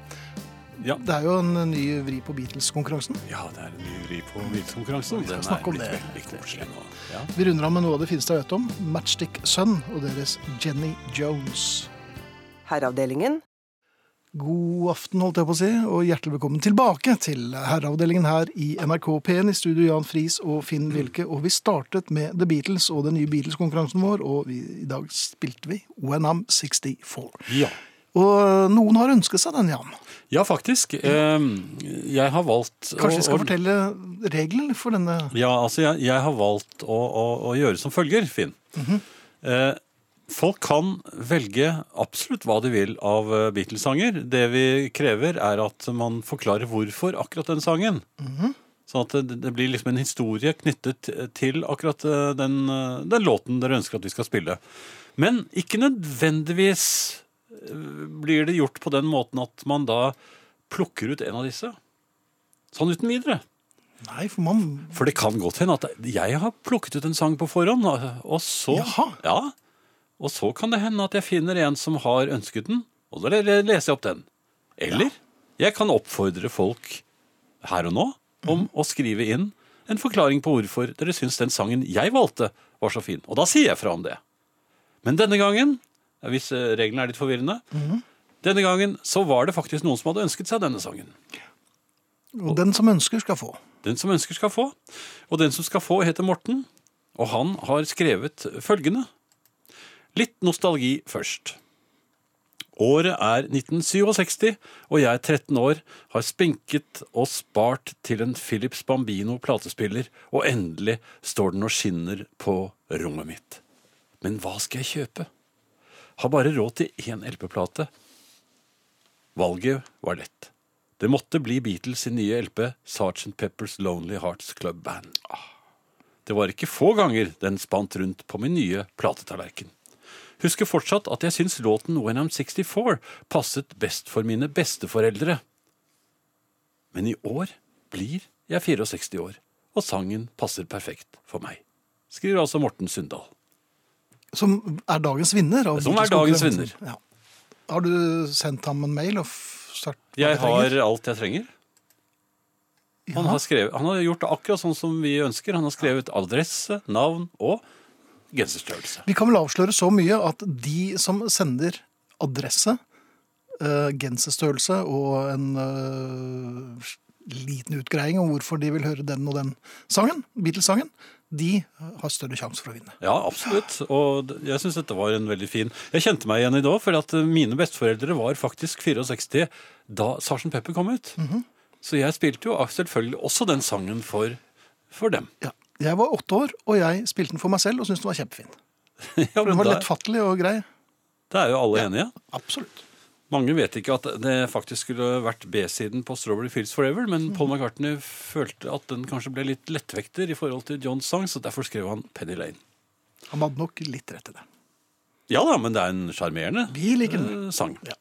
Ja, Det er jo en eh, ny vri på Beatles-konkurransen. ja det er en ny vri på bilkonkurransen. Den er snakke om blitt det. veldig koselig nå. Ja. Vi runder av med noe av det fineste jeg vet om, Matchstick Sun og deres Jenny Jones. Herreavdelingen. God aften, holdt jeg på å si, og hjertelig velkommen tilbake til herreavdelingen her i NRK P1 i studio Jan Friis og Finn Wilke. Og vi startet med The Beatles og den nye Beatles-konkurransen vår, og vi, i dag spilte vi When I'm 64. Ja. Og øh, noen har ønsket seg den, Jan. ja, faktisk. ehm, jeg har valgt å- Kanskje vi å- skal fortelle reglene for denne Ja, altså jeg, jeg har valgt å, å, å gjøre som følger, Finn. eh, folk kan velge absolutt hva de vil av eh, Beatles-sanger. Det vi krever er at man forklarer hvorfor akkurat den sangen. Sånn at det, det blir liksom en historie knyttet til akkurat eh, den, eh, den låten dere ønsker at vi skal spille. Men ikke nødvendigvis eh, blir det gjort på den måten at man da plukker ut en av disse. Sånn uten videre. Nei, for man For det kan godt hende at jeg har plukket ut en sang på forhånd, og så, Jaha. ja, og så kan det hende at jeg finner en som har ønsket den, og da le- leser jeg opp den. Eller jeg kan oppfordre folk her og nå om å skrive inn en forklaring på hvorfor dere syns den sangen jeg valgte, var så fin. Og da sier jeg fra om det. Men denne gangen, hvis eh, reglene er litt forvirrende, denne gangen så var det faktisk noen som hadde ønsket seg denne sangen. Og den som ønsker, skal få. Den som ønsker skal få. Og den som skal få, heter Morten. Og han har skrevet følgende. Litt nostalgi først. Året er 1967, og jeg er 13 år, har spinket og spart til en Philips Bambino platespiller, og endelig står den og skinner på rommet mitt. Men hva skal jeg kjøpe? Har bare råd til én LP-plate. Valget var lett. Det måtte bli Beatles sin nye LP, Sgt. Peppers Lonely Hearts Club Band. Ah. Det var ikke få ganger den spant rundt på min nye platetallerken. Husker fortsatt at jeg syns låten When I'm 64 passet best for mine besteforeldre. Men i år blir jeg 64 år, og sangen passer perfekt for meg. Skriver altså Morten Sundal. Som er dagens vinner. Av Som er dagens Beatles-konkurransen. Ja. Har du sendt ham en mail? og f- sagt hva Jeg du har trenger? alt jeg trenger. Han har, skrevet, han har gjort det akkurat sånn som vi ønsker. Han har skrevet adresse, navn og genserstørrelse. Vi kan vel avsløre så mye at de som sender adresse, eh, genserstørrelse og en eh, liten utgreiing om hvorfor de vil høre den og den sangen, Beatles-sangen, de har større sjanse for å vinne. Ja, absolutt. Og d- jeg syns dette var en veldig fin Jeg kjente meg igjen i dag, for at eh, mine besteforeldre var faktisk 64 da Sarsen Pepper kom ut. Så jeg spilte jo selvfølgelig også den sangen for, for dem. Ja. Jeg var åtte år, og jeg spilte den for meg selv og syntes den var kjempefin. Ja, Den men var da- lettfattelig og grei. Da er jo alle enige. Absolutt. Mange vet ikke at det faktisk skulle vært B-siden på Strawberry Fields Forever, Mm. men Paul McCartney følte at den kanskje ble litt lettvekter i forhold til Johns sang, så derfor skrev han Penny Lane. Han hadde nok litt rett i det. Ja da, men det er en sjarmerende Vi liker den. eh, sang. Ja.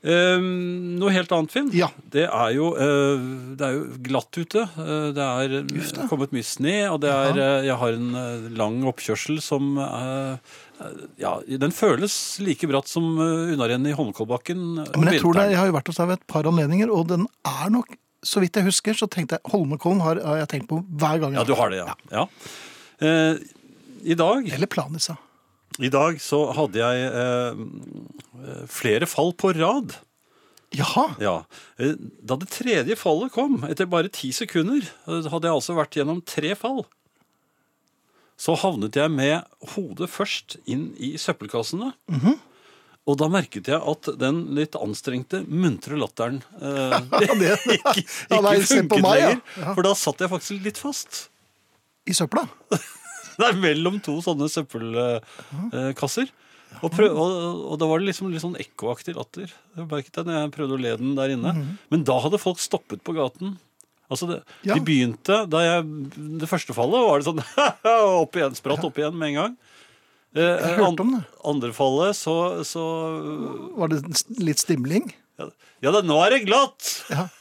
Eh, noe helt annet, Finn. Ja. Det, er jo, eh, det er jo glatt ute. Eh, det er eh, kommet mye sne, og det er, eh, jeg har en eh, lang oppkjørsel som eh, eh, ja, Den føles like bratt som uh, unnarennet i Holmenkollbakken. eh, om Men jeg tror det, vinteren. jeg har jo vært hos deg ved et par anledninger, og den er nok Så vidt jeg husker, så tenkte jeg Holmenkollen har har jeg tenkt på hver gang. jeg Ja, du har det, ja. ja. Eh, i, dag, Eller Planica. I dag så hadde jeg eh, flere fall på rad. Jaha! Ja. Eh, Da det tredje fallet kom, etter bare ti sekunder, eh, hadde jeg altså vært gjennom tre fall. Så havnet jeg med hodet først inn i søppelkassene. Mhm. Og da merket jeg at den litt anstrengte, muntre latteren eh, ikke, ikke Ja, nei, se på funket meg, ja. lenger. For da satt jeg faktisk litt fast. I søpla. Det er mellom to sånne søppelkasser. Og, prøv, og, og da var det liksom litt sånn ekkoaktig latter. Jeg merket det når jeg prøvde å le den der inne. Mhm. Men da hadde folk stoppet på gaten. Altså det, Ja. De begynte da jeg, Det første fallet var det sånn opp igjen, spratt opp igjen med en gang. Eh, Jeg hørte an- om det. Andre fallet, så, så Var det s- litt stimling? ja, Ja, da, nå er det glatt! Ja.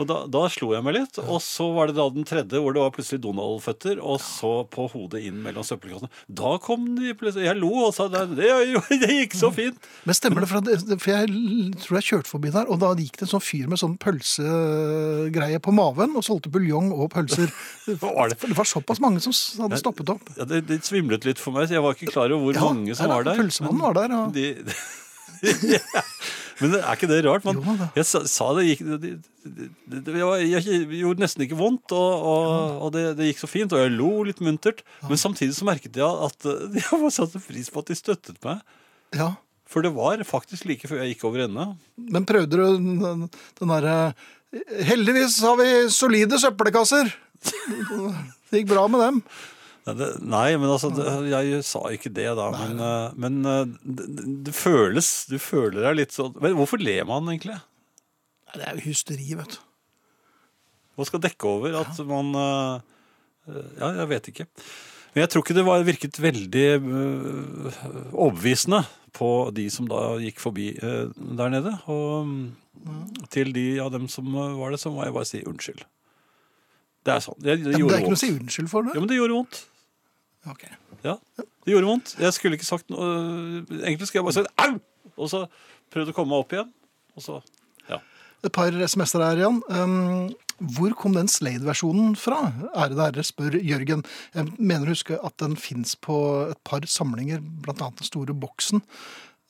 Og da, da slo jeg meg litt, og så var det da den tredje hvor det var plutselig Donald-føtter, og så på hodet inn mellom søppelkassene. Da kom de plutselig Jeg lo og sa det, det, det gikk så fint. Men stemmer det, for, at, det- for jeg l- tror jeg kjørte forbi der, og da gikk det en sånn fyr med sånn pølsegreie på maven og solgte buljong og pølser. Var det? For det var såpass mange som s- hadde stoppet opp. Ja, det, det svimlet litt for meg, så jeg var ikke klar over hvor Ja, mange som nei, var nei, der. Pølsemannen var der, og De, men er ikke det rart? Man, Jo da. jeg sa, sa det gikk det, det, det, det, var- jeg gjorde nesten ikke vondt, og, og, og det, det gikk så fint, og jeg lo litt muntert. Men samtidig så merket jeg at eh, jeg bare satte pris på at de støttet meg. ja. For det var faktisk like før jeg gikk over ende. Men prøvde du den, den derre Heldigvis har vi solide søppelkasser! Det gikk bra med dem. Nei, det, nei men altså, det, jeg sa ikke det da. Men, eh, men eh, det, det- det føles Du føler deg litt sånn Men hvorfor ler man egentlig? Nei, Det er jo hysteri, vet du. Man skal dekke over at man eh, eh, Ja, jeg vet ikke. Men jeg tror ikke det var, virket veldig eh, overbevisende på de som da gikk forbi eh, der nede. Og mm, til de av dem som eh, var det, så må jeg bare si unnskyld. Det er sånn. Det, Ja, men det det gjorde er ikke noe å vondt. si unnskyld for Ja, det. men det gjorde vondt. Ok. Ja, det gjorde vondt. Jeg skulle ikke sagt noe eh, Egentlig skulle jeg bare sagt au! Og så prøvd å komme meg opp igjen. Og så Ja. Et par SMS-er her, Jan. Um, hvor kom den Slade-versjonen fra? Ærede herre, spør Jørgen. Jeg mener å huske at den fins på et par samlinger, bl.a. den store boksen.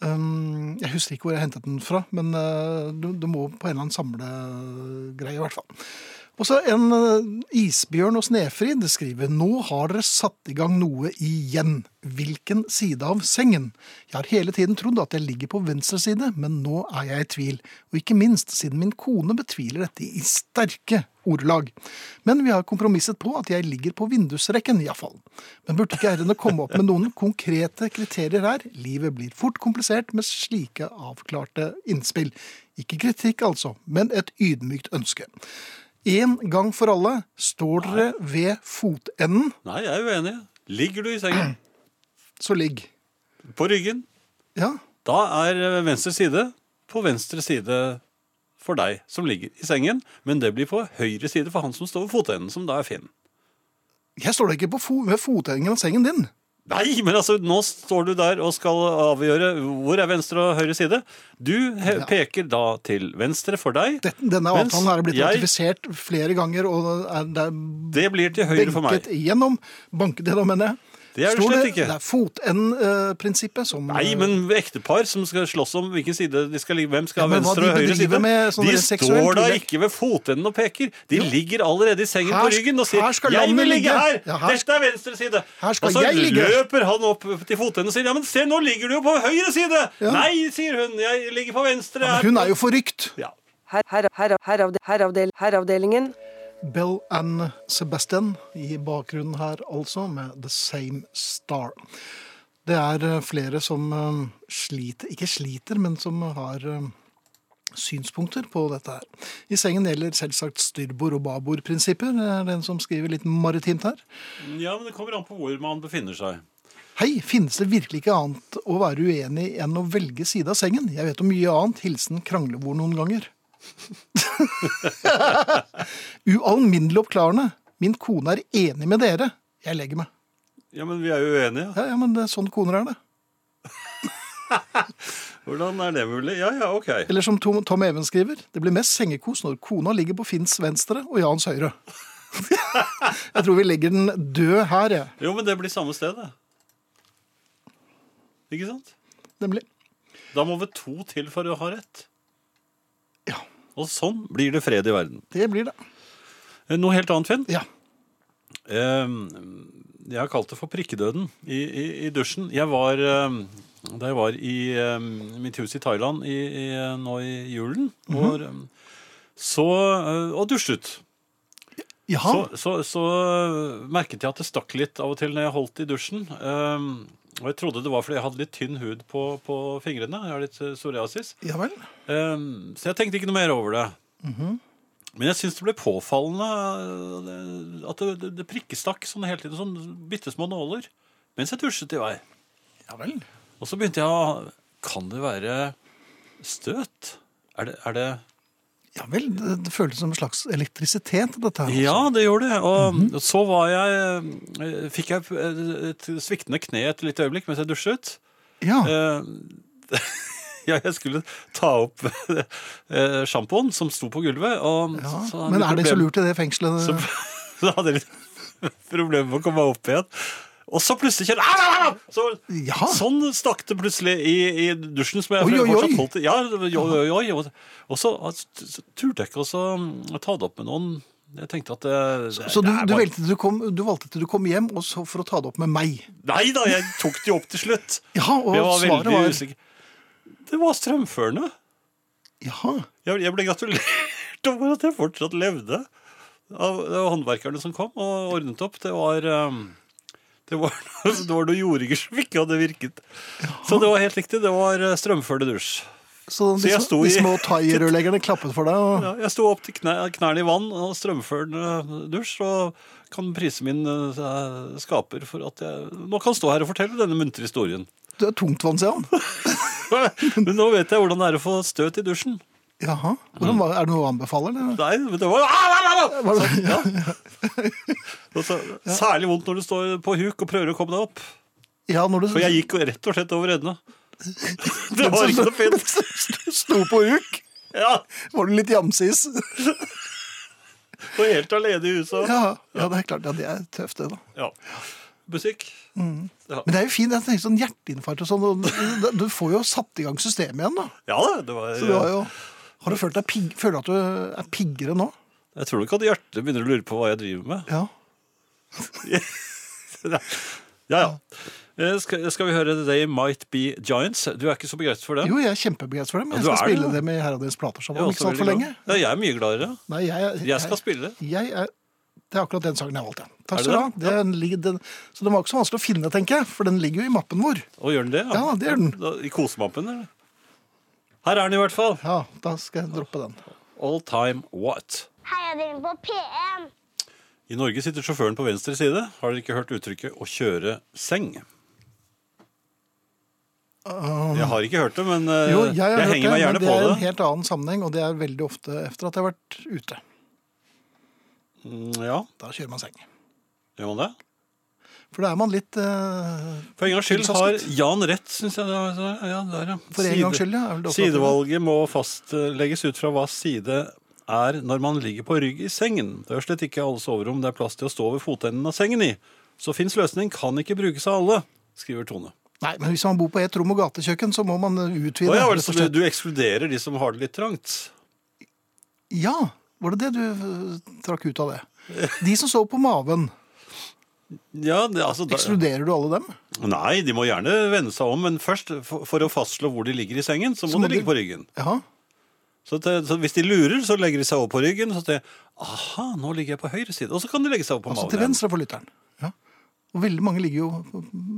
Um, jeg husker ikke hvor jeg hentet den fra, men uh, du, du må på en eller annen samlegreie, i hvert fall. Og så en uh, Isbjørn og Snefrid skriver Nå har dere satt i gang noe igjen. Hvilken side av sengen? Jeg har hele tiden trodd at jeg ligger på venstre side, men nå er jeg i tvil. Og ikke minst siden min kone betviler dette i sterke ordelag. Men vi har kompromisset på at jeg ligger på vindusrekken, iallfall. Men burde ikke herrene komme opp med noen konkrete kriterier her? Livet blir fort komplisert med slike avklarte innspill. Ikke kritikk, altså, men et ydmykt ønske. En gang for alle står dere ved fotenden, Nei, jeg er uenig. Ligger du i sengen, så ligg. på ryggen, Ja, da er venstre side på venstre side for deg som ligger i sengen, men det blir på høyre side for han som står ved fotenden, som da er Finn. jeg står da ikke på fo ved fotenden av sengen din. Nei, men altså, nå står du der og skal avgjøre hvor er venstre og høyre side. Du he peker da til venstre for deg. Dette- Denne mens avtalen her er blitt jeg- ratifisert flere ganger, og er, det er Det blir til høyre for meg. benket igjennom. Banket gjennom, mener jeg. Det er det Står slett ikke. Det er fotenden-prinsippet som eh, Nei, men ektepar som skal slåss om hvilken side de skal ligge, hvem skal Ja, ha men hva venstre og de høyre bedriver side, med sånn de der seksuell står da tillegg. ikke ved fotenden og peker. De ligger allerede i sengen Her på sk- ryggen og her sier skal 'jeg landet vil ligge ligge. her', Ja, her dette er venstre side. Her skal og så jeg ligge. løper han opp til fotenden og sier 'ja, men se, nå ligger du jo på høyre side'. Nei, sier hun, jeg ligger på venstre. Men Hun er jo forrykt. ja. Her, her, her, heravde, heravdel, herravdelingen. Bell and Sebastian i bakgrunnen her altså, med The Same Star. Det er eh, flere som eh, sliter, ikke sliter, men som har eh, synspunkter på dette her. I sengen gjelder selvsagt styrbord- og babordprinsipper. Det er den som skriver litt maritimt her. ja, men det kommer an på hvor man befinner seg. Hei, finnes det virkelig ikke annet å være uenig i enn å velge side av sengen? Jeg vet om mye annet. Hilsen kranglebord noen ganger. Ualminnelig oppklarende. Min kone er enig med dere. Jeg legger meg. Ja, men vi er jo uenige. Ja, ja, men det er sånn koner er det. Hvordan er det mulig? Ja, ja, ok. Eller som Tom, Tom Even skriver, det blir mest sengekos når kona ligger på Finns venstre og Jans høyre. jeg tror vi legger den død her, jeg. Jo, men det blir samme sted, det. Ikke sant? Nemlig. Da må vi to til for å ha rett. Ja, Og sånn blir det fred i verden. det blir det. Eh, Noe helt annet, Finn. Ja. Eh, Jeg har kalt det for prikkedøden i, i, i dusjen. Jeg var, eh, da jeg var i eh, mitt hus i Thailand i, i, eh, nå i julen, hvor, eh, så, eh, og dusjet, Jaha, så, så, så eh, merket jeg at det stakk litt av og til når jeg holdt i dusjen. Eh, Og jeg trodde det var fordi jeg hadde litt tynn hud på, på fingrene. Jeg har litt eh, psoriasis. ja vel. Um, så jeg tenkte ikke noe mer over det. Men jeg syns det ble påfallende uh, at det, det, det prikkestakk sånn hele tiden, sånn bitte små nåler, mens jeg dusjet i vei. Ja vel. Og så begynte jeg å Kan det være støt? Er det, er det Ja vel, det, det føles som en slags elektrisitet, dette her. altså. Ja, det gjorde det. Og så var jeg eh, Fikk jeg eh, et sviktende kne et lite øyeblikk mens jeg dusjet. Ja. Eh, ja, jeg skulle ta opp eh, sjampoen som sto på gulvet. Og, Ja, så- så hadde men jeg er det så problem- lurt i det fengselet? Så, så hadde jeg litt problemer med å komme meg opp igjen. Og så plutselig kjente jeg au, au, au! så, Ja. Sånn stakk det plutselig i, i dusjen. Som jeg Oi, oi, oi. fortsatt holdt i. Ja, jo, jo, jo, jo. Og så så turte jeg ikke også å ta det opp med noen. Jeg tenkte at det, det, Så du, det er du, bare- valgte til du, kom, du valgte til du kom hjem og så for å ta det opp med meg? Nei da, jeg tok det jo opp til slutt. Jaha, og Jeg var svaret veldig var usikker. Det var strømførende. Jaha. Jeg, jeg ble gratulert over at jeg fortsatt levde. Av, av håndverkerne som kom og ordnet opp. Det var ehm, det var, det var noe jordinger som ikke hadde virket. Så det var helt riktig. Det var eh, strømførende dusj. Så Så de, jeg sm- sto de i- små thai-rørleggerne klappet for deg? Og... Ja, jeg sto opp til knæ, knærne i vann og strømførende dusj, og kan prise min eh, skaper for at jeg nå kan stå her og fortelle denne muntre historien. Du er tungtvann, sier han. Men nå vet jeg hvordan det er å få støt i dusjen. Jaha. Hvordan, var- er det noe å anbefale? Eller? Nei, men det var au, au, au, au! Var det, ja. Og så- Særlig vondt når du står på huk og prøver å komme deg opp. ja, når du For jeg gikk jo rett og slett over ende. Det var ikke noe fint. sto på huk, Ja, var du litt jamsis? Og helt alene i huset. Ja, ja, det er klart. Ja, det er tøft, det, da. Ja. Musikk. Ja. Men det er jo fint. Jeg tenker sånn hjerteinfarkt og sånn. og Du får jo satt i gang systemet igjen, da. ja da, det var Så du har jo Har du følt deg pigg... Føler du at du er piggere nå? Jeg tror nok at hjertet begynner å lure på hva jeg driver med. Ja. Ja, ja. Eh, Skal, skal vi høre They Might Be Giants? Du er ikke så begeistret for den? Jo, jeg er kjempebegeistret for det, men jeg Ja, du skal er det, spille ja. det med Herradens plater Jeg er sammen. Ikke også sant for veldig lenge? glad. Ja, jeg er mye gladere. Nei, jeg, jeg, Jeg skal spille. Jeg er, det er akkurat den sangen jeg valgte. Er Takk det skal du ha. Det er en lig- den- Så den var ikke så vanskelig å finne, tenker jeg, for den ligger jo i mappen vår. Og gjør den det? Ja, det gjør den. Da- I kosemappen, eller? Her er den i hvert fall. Ja, da skal jeg droppe den. All Time What. Heia dere på P1! I Norge sitter sjåføren på venstre side. Har dere ikke hørt uttrykket 'å kjøre seng'? jeg har ikke hørt det, men Um, eh, Jo, jeg, jeg har hørt henger meg det, men gjerne det på er en det. helt annen sammenheng, og det er veldig ofte etter at jeg har vært ute. Mm, Ja, Da kjører man seng. gjør man det? For da er man litt eh, For en gangs skyld har Tilsasket. Jan rett, syns jeg. det var- Ja, der, ja. For en Side- gangs skyld, ja. er vel det også- Sidevalget må fastlegges ut fra hva side er når man ligger på rygg i sengen. Det er jo slett ikke alle soverom det er plass til å stå ved fotenden av sengen i. Så Finns løsning kan ikke brukes av alle, skriver Tone. Nei, men hvis man bor på ett rom og gatekjøkken, så må man utvide. Å ja, vel, rett så og du, slett. du ekskluderer de som har det litt trangt. ja, var det det du øh, trakk ut av det? De som så på maven, Ja, det, altså, da, ekskluderer du alle dem? nei, de må gjerne vende seg om, men først, for, for å fastslå hvor de ligger i sengen, så må, de ligge på ryggen. Ja, Så, det, så hvis de lurer, så legger de seg over på ryggen, så tenker de aha, nå ligger jeg på høyre side. Og så kan de legge seg over på altså magen. til venstre for lytteren. Ja. Og veldig mange ligger jo,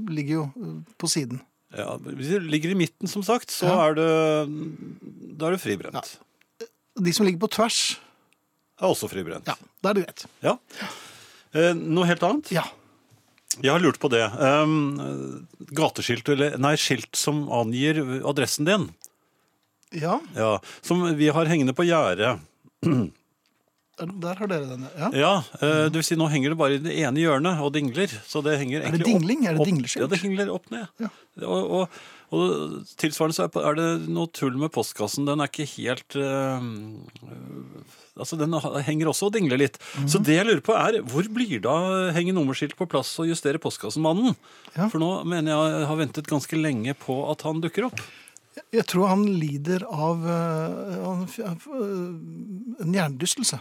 ligger jo øh, på siden. Ja, hvis de ligger i midten, som sagt, så Ja. er det Da er det fribrent. De som ligger på tvers, Er også fribrent. ja, da er det greit. Ja. Eh, noe helt annet? Ja, Jeg har lurt på det. Um, gateskilt, eller nei, skilt som angir adressen din. ja Ja, Som vi har hengende på gjerdet. der, der har dere denne. Ja. Ja, eh, du vil si nå henger det bare i det ene hjørnet og dingler. Så det henger Er det egentlig opp- dingling? Er det opp- dingleskilt? Ja, det hingler opp ned. Og, og, og tilsvarende så er på- er det noe tull med postkassen. Den er ikke helt eh, øh, Altså, den ha- henger også og dingler litt. Mhm. Så det jeg lurer på er, hvor blir det av henge nummerskilt på plass og justere postkassenmannen? Ja. For nå mener jeg jeg har ventet ganske lenge på at han dukker opp. Jeg tror han lider av øh, han f- av, øh, en hjernedystelse.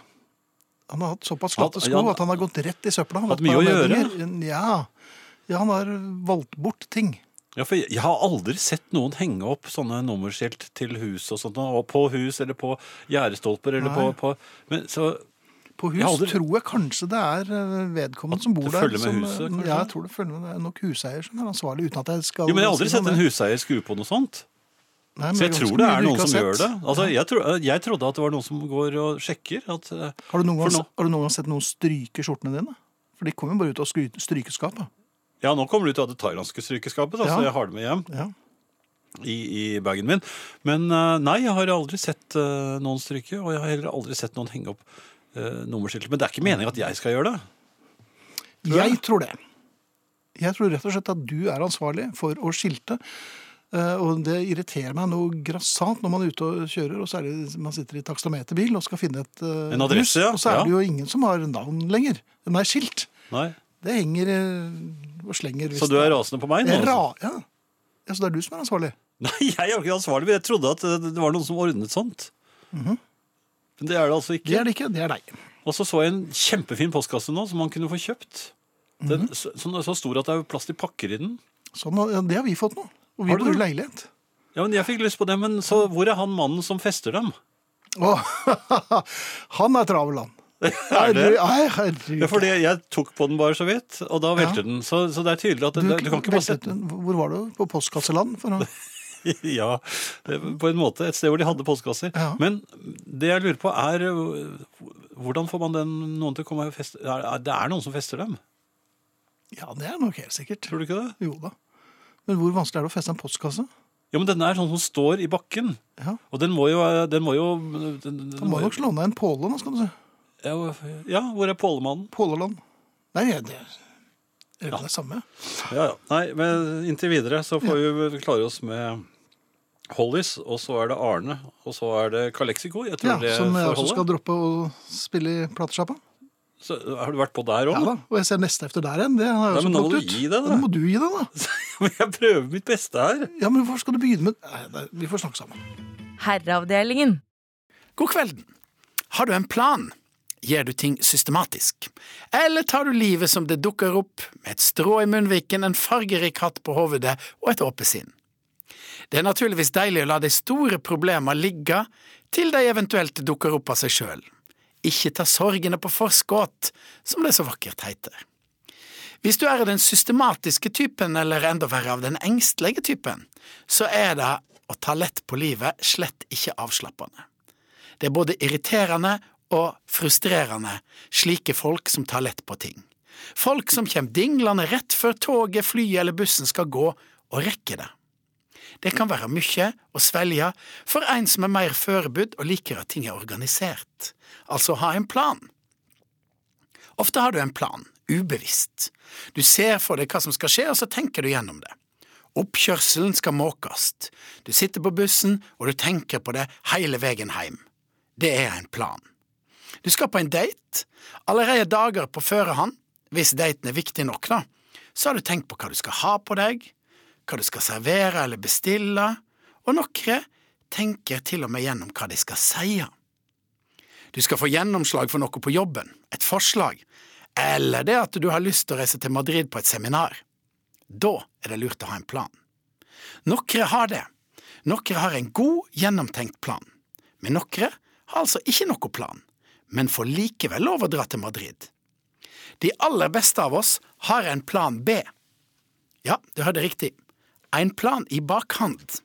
Han har hatt såpass Hatt- glatte sko ja, han- at han har gått rett i søpla. Han Hatt har mye å hatt gjøre. anledninger. Ja. ja, han har valgt bort ting. Ja, for jeg, jeg har aldri sett noen henge opp sånne nummerskilt til hus og sånt, og på hus eller på gjerdestolper eller på, Nei. på men, så, På hus Jeg har aldri- tror jeg kanskje det er øh, vedkommende som bor det der. følger med som, huset, øh, kanskje? Ja, jeg tror det følger med. Det er nok huseier som er ansvarlig, uten at jeg skal Jo, men jeg si har aldri noe om sett en det. huseier skru på noe sånt. Nei, men Så jeg er tror ganske det mye er du noen ikke som har gjør det. sett. Altså, jeg, tro, jeg trodde at det var noen som går og sjekker. At, eh, Har du, noen for gang, nå- har du noen gang sett noen stryke skjortene dine? For de kommer jo bare ut av skry- strykeskapet. ja, nå kommer det ut av det thailandske strykeskapet, da, Ja. så jeg har det med hjem Ja. i, i bagen min. Men eh, nei, jeg har aldri sett eh, noen stryke, og jeg har heller aldri sett noen henge opp uh, nummerskilt. Men det er ikke meningen at jeg skal gjøre det. Tror jeg. Jeg tror det. Jeg tror rett og slett at du er ansvarlig for å skilte. Eh, Og det irriterer meg noe grassat når man er ute og kjører, og særlig man sitter i takstameterbil og skal finne et eh, En adresse, ja. hus. Og så er Ja. det jo ingen som har navn lenger. Nei, skilt. Nei. Det henger eh, og slenger. hvis Så du er det- rasende på meg nå? Jeg er altså? ra- Ja. ja, så det er du som er ansvarlig. Nei, jeg er jo ikke ansvarlig, men jeg trodde at det det var noen som ordnet sånt. Men det er det altså ikke. Mhm. Det er det ikke, det er deg. Og så så jeg en kjempefin postkasse nå, som man kunne få kjøpt. Den, Mhm. så, sånn- så stor at det er plass til pakker i den. Sånn, ja, det har vi fått nå. Og vi Har du bor i det? leilighet. Ja, men Jeg fikk lyst på det, men så hvor er han mannen som fester dem? Å, han er travel, han. Er det? Nei, herregud. Ja, for det- Jeg tok på den bare så vidt, og da Ja. velter den. Så, så det er tydelig at det, det- du kan ikke bare ventet, sette den Hvor var du? På postkasseland? For å... Ja, det- på en måte. Et sted hvor de hadde postkasser. Ja. Men det jeg lurer på, er øh, hvordan får man den noen til å komme og feste er- er- Det er noen som fester dem, Ja, det er nok helt sikkert. tror du ikke det? Jo da. Men hvor vanskelig er det å feste en postkasse? Ja, men denne er sånn som står i bakken. Ja. Og den må jo Den må jo den, Han må nok slå ned en påle nå, skal du se. Ja, ja, hvor er pålemannen? Påleland. Nei, det er det, er det samme. Ja, ja. Nei, men inntil videre så får vi klare oss med Hollies, og så er det Arne, og så er det Calexico. Jeg tror Ja, det som jeg får også holde. skal droppe å spille i platesjappa. Så, har du vært på der Ja òg? da. Og jeg ser neste efter der igjen. Det har jeg Nei, men også nå må plukket du ut. gi deg, da. Ja, Nå må du gi deg, da. jeg prøver mitt beste her. Ja, men hvorfor skal du begynne med Nei, nei, vi får snakke sammen. Herreavdelingen. God kvelden. Har du en plan? Gjør du ting systematisk? Eller tar du livet som det dukker opp, med et strå i munnviken, en fargerik hatt på hovedet og et åpent sinn? Det er naturligvis deilig å la de store problema ligge til de eventuelt dukker opp av seg sjøl. Ikke ta sorgene på forskudd, som det så vakkert heter. Hvis du er av den systematiske typen, eller enda verre av den engstelige typen, så er det å ta lett på livet slett ikke avslappende. Det er både irriterende og frustrerende, slike folk som tar lett på ting. Folk som kommer dinglende rett før toget, flyet eller bussen skal gå, og rekker det. Det kan være mye å svelge for en som er mer forberedt og liker at ting er organisert, altså ha en plan. Ofte har du en plan, ubevisst. Du ser for deg hva som skal skje, og så tenker du gjennom det. Oppkjørselen skal måkast. Du sitter på bussen, og du tenker på det hele veien heim. Det er en plan. Du skal på en date, allerede dager på førehånd, hvis daten er viktig nok, da, så har du tenkt på hva du skal ha på deg, hva du skal servere eller bestille, og noen tenker til og med gjennom hva de skal si. Du skal få gjennomslag for noe på jobben, et forslag, eller det at du har lyst til å reise til Madrid på et seminar. Da er det lurt å ha en plan. Noen har det. Noen har en god, gjennomtenkt plan. Men noen har altså ikke noe plan, men får likevel lov å dra til Madrid. De aller beste av oss har en plan B. Ja, du hørte riktig. En plan i bakhand.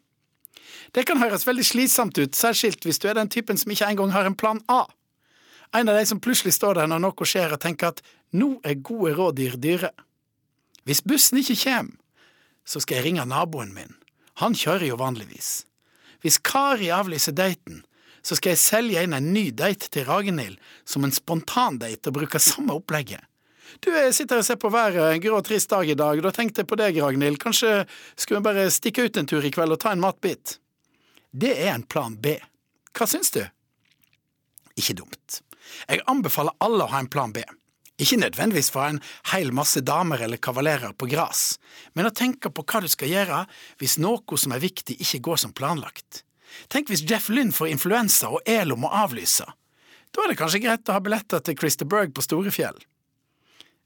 Det kan høres veldig slitsomt ut, særskilt hvis du er den typen som ikke engang har en plan A. En av de som plutselig står der når noe skjer og tenker at nå er gode rådyr dyre. Hvis bussen ikke kommer, så skal jeg ringe naboen min. Han kjører jo vanligvis. Hvis Kari avlyser daten, så skal jeg selge inn en ny date til Ragnhild som en spontandate og bruke samme opplegget. Du, jeg sitter og ser på været, en grå og trist dag i dag, da tenkte jeg på deg, Ragnhild, kanskje skulle vi bare stikke ut en tur i kveld og ta en matbit? Det er en plan B. Hva syns du? Ikke dumt. Jeg anbefaler alle å ha en plan B. Ikke nødvendigvis for en heil masse damer eller kavalerer på gras, men å tenke på hva du skal gjøre hvis noe som er viktig ikke går som planlagt. Tenk hvis Jeff Lynn får influensa og Elo må avlyse. Da er det kanskje greit å ha billetter til Christer Berg på Storefjell.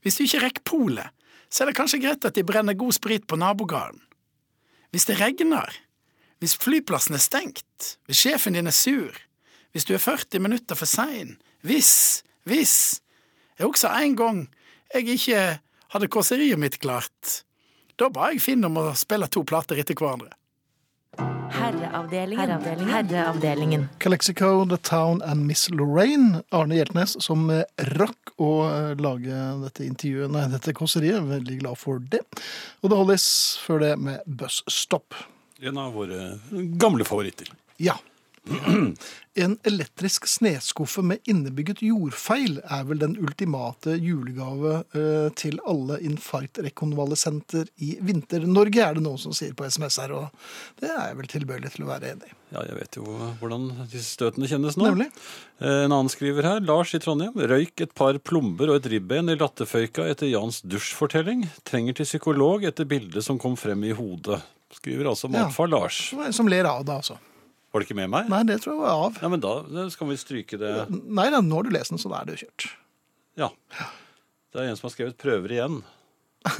Hvis du ikke rekker polet, så er det kanskje greit at de brenner god sprit på nabogarden. Hvis det regner, hvis flyplassen er stengt, hvis sjefen din er sur, hvis du er 40 minutter for sein, hvis, hvis… Jeg husker en gang jeg ikke hadde kåseriet mitt klart. Da ba jeg Finn om å spille to plater etter hverandre. Herreavdelingen. Herreavdelingen. Herreavdelingen. Calexico, The Town and Miss Lorraine. Arne Hjeltnes som eh, rakk å eh, lage dette intervjuet, nei, dette kåseriet. Veldig glad for det. Og det holdes før det med Buzz Stop. En av våre gamle favoritter. Ja. En elektrisk sneskuffe med innebygget jordfeil er vel den ultimate julegave eh, til alle infarktrekonvalesenter i Vinter-Norge, er det noen som sier på SMS her, og det er jeg vel tilbøyelig til å være enig i. Ja, jeg vet jo hvordan disse støtene kjennes nå. Nemlig. Eh, En annen skriver her, Lars i Trondheim, røyk et par plomber og et ribben i latteføyka etter Jans dusjfortelling. Trenger til psykolog etter bildet som kom frem i hodet. Skriver altså Ja. matfar Lars. Det var en som ler av det, altså. Var det ikke med meg? Nei, det tror jeg var av. Nei, men da da skal vi stryke det. Nei da, nå har du lest den, så da er det jo kjørt. Ja. Det er en som har skrevet prøver igjen.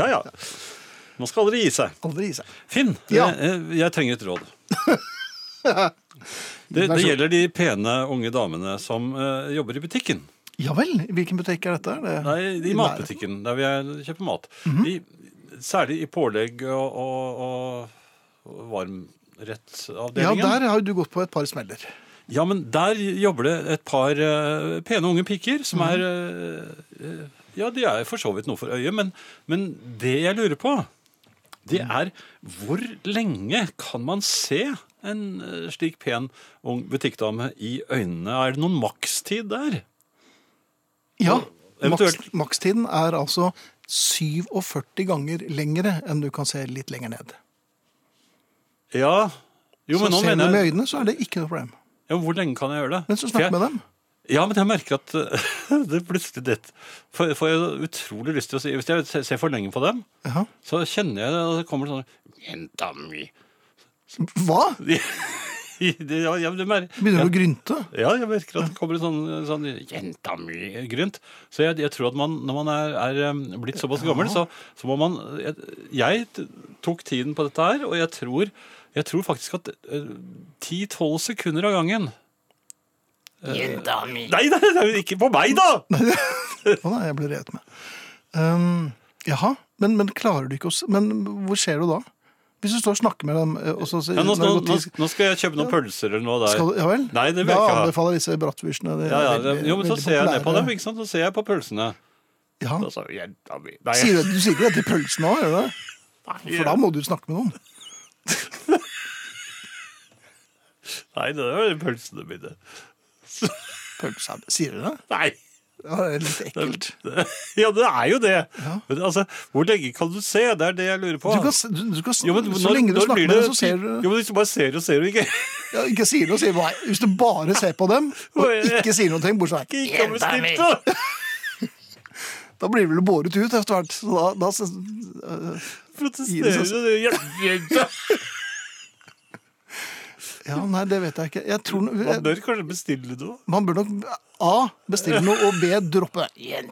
ja, ja. Nå skal dere gi seg. Aldri gi seg. Finn, Ja. jeg, jeg trenger et råd. Det, Vær det så- gjelder de pene unge damene som eh, jobber i butikken. Ja vel? i Hvilken butikk er dette? Er det Nei, i i Mhm. matbutikken, der vi er- kjøper mat. I, særlig i pålegg og, og, og Ja, varmrettsavdelingen. der har jo du gått på et par smeller. Ja, men der jobber det et par eh, pene unge piker som Mhm. er eh, eh, Ja, de er for så vidt noe for øyet, men, men det jeg lurer på, det Mhm. er hvor lenge kan man se en eh, slik pen ung butikkdame i øynene? Er det noen makstid der? Ja. Maks, Eventuelt. makstiden er altså 47 ganger lengre enn du kan se litt lenger ned. Ja. Jo, men så nå ser du mener med jeg øynene, så er det ikke noe problem. ja, Hvor lenge kan jeg gjøre det? Men så For snakk jeg- med dem. Ja, men jeg merker at eh, det plutselig dett. Får får jeg utrolig lyst til å si Hvis jeg ser- ser for lenge på dem, Jaha. så kjenner jeg det, og det kommer sånn Jenta mi. Hva? Det- Ja, ja, men det mer- Begynner du å grynte? ja, jeg merker at det kommer en sånn, sånn jenta mi-grynt. Så jeg, jeg tror at man, når man er, er um, blitt såpass gammel, så, så må man jeg, jeg t- tok tiden på dette her, og jeg tror, jeg tror faktisk at eh, 10-12 sekunder av gangen Jenta mi. Nei, nei, nei, ikke på meg, da! Å nei, jeg ble revet med. Um, jaha, men, men klarer du ikke å se Men hvor ser du da? Hvis du står og snakker med dem, eh, og så sier Ja, nå, når nå, det nå, går ti- nå skal jeg kjøpe noen pølser eller noe der. Skal, du- ja vel? Nei, det da vil jeg ikke ha. anbefaler disse brattwursene. de er Ja, ja, det, veldig- jo, men så veldig ser jeg ned på populære. dem, ikke sant? Så ser jeg på pølsene. Ja. Og så, jenta mi. Nei, Sier du, du sier ikke det til pølsen òg, gjør du det? For da må du snakke med noen. nei, det er jo pølsene mine. Pølsa, sier du det? Nei. Ja, det er litt ekkelt. Ja, det er jo det. Men altså, hvor lenge kan du se? Det er det jeg lurer på. Du kan, s- du, du kan, s- Jo, men så når- lenge du når snakker blir med det- dem, så ser du Jo, men hvis du bare ser og ser og ikke ja, Ikke sier noe, sier nei. Hvis du bare ser på dem, og ikke sier noe, bortsett fra Ikke kommer snipp, da! Da blir det vel båret ut etter hvert. Så da, da s- øh, Protesterer du? Det er hjelpejenta. Ja, nei, det vet jeg ikke. Jeg tror no- Man jeg, bør kanskje bestille noe. Man bør nok A. Bestille noe, og B. Droppe det.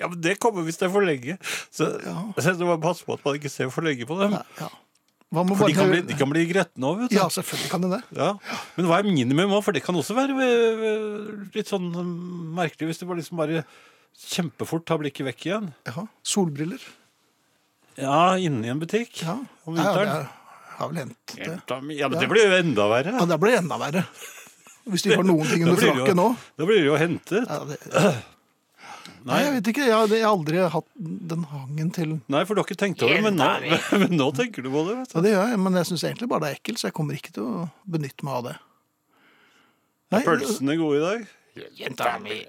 Ja, men det kommer hvis det er for lenge. Så, så du må passe på at man ikke ser for lenge på dem. Ja. Man må For bare de kan bli, de kan bli gretne òg, vet du. Ja, selvfølgelig kan det det. Ja. Men hva er minimum òg? For det kan også være eh, litt sånn eh, merkelig hvis du bare liksom bare kjempefort tar blikket vekk igjen. Ja. Solbriller. Ja, inne i en butikk Ja. om Ja, det vinteren. er- har vel hendt det. Jenta mi. Ja, men det blir jo enda verre. Ja, det blir enda verre. Hvis du ikke har noen ting under blir det frakken nå. jo, da blir det jo hentet. Ja, det, nei, jeg vet ikke. Jeg, har- jeg har aldri hatt den hangen til Nei, for du har ikke tenkt over det, men nå, men nå tenker du på det. vet du. Ja, det gjør jeg, men jeg syns egentlig bare det er ekkelt, så jeg kommer ikke til å benytte meg av det. Nei, Er pølsene gode i dag? Jenta mi.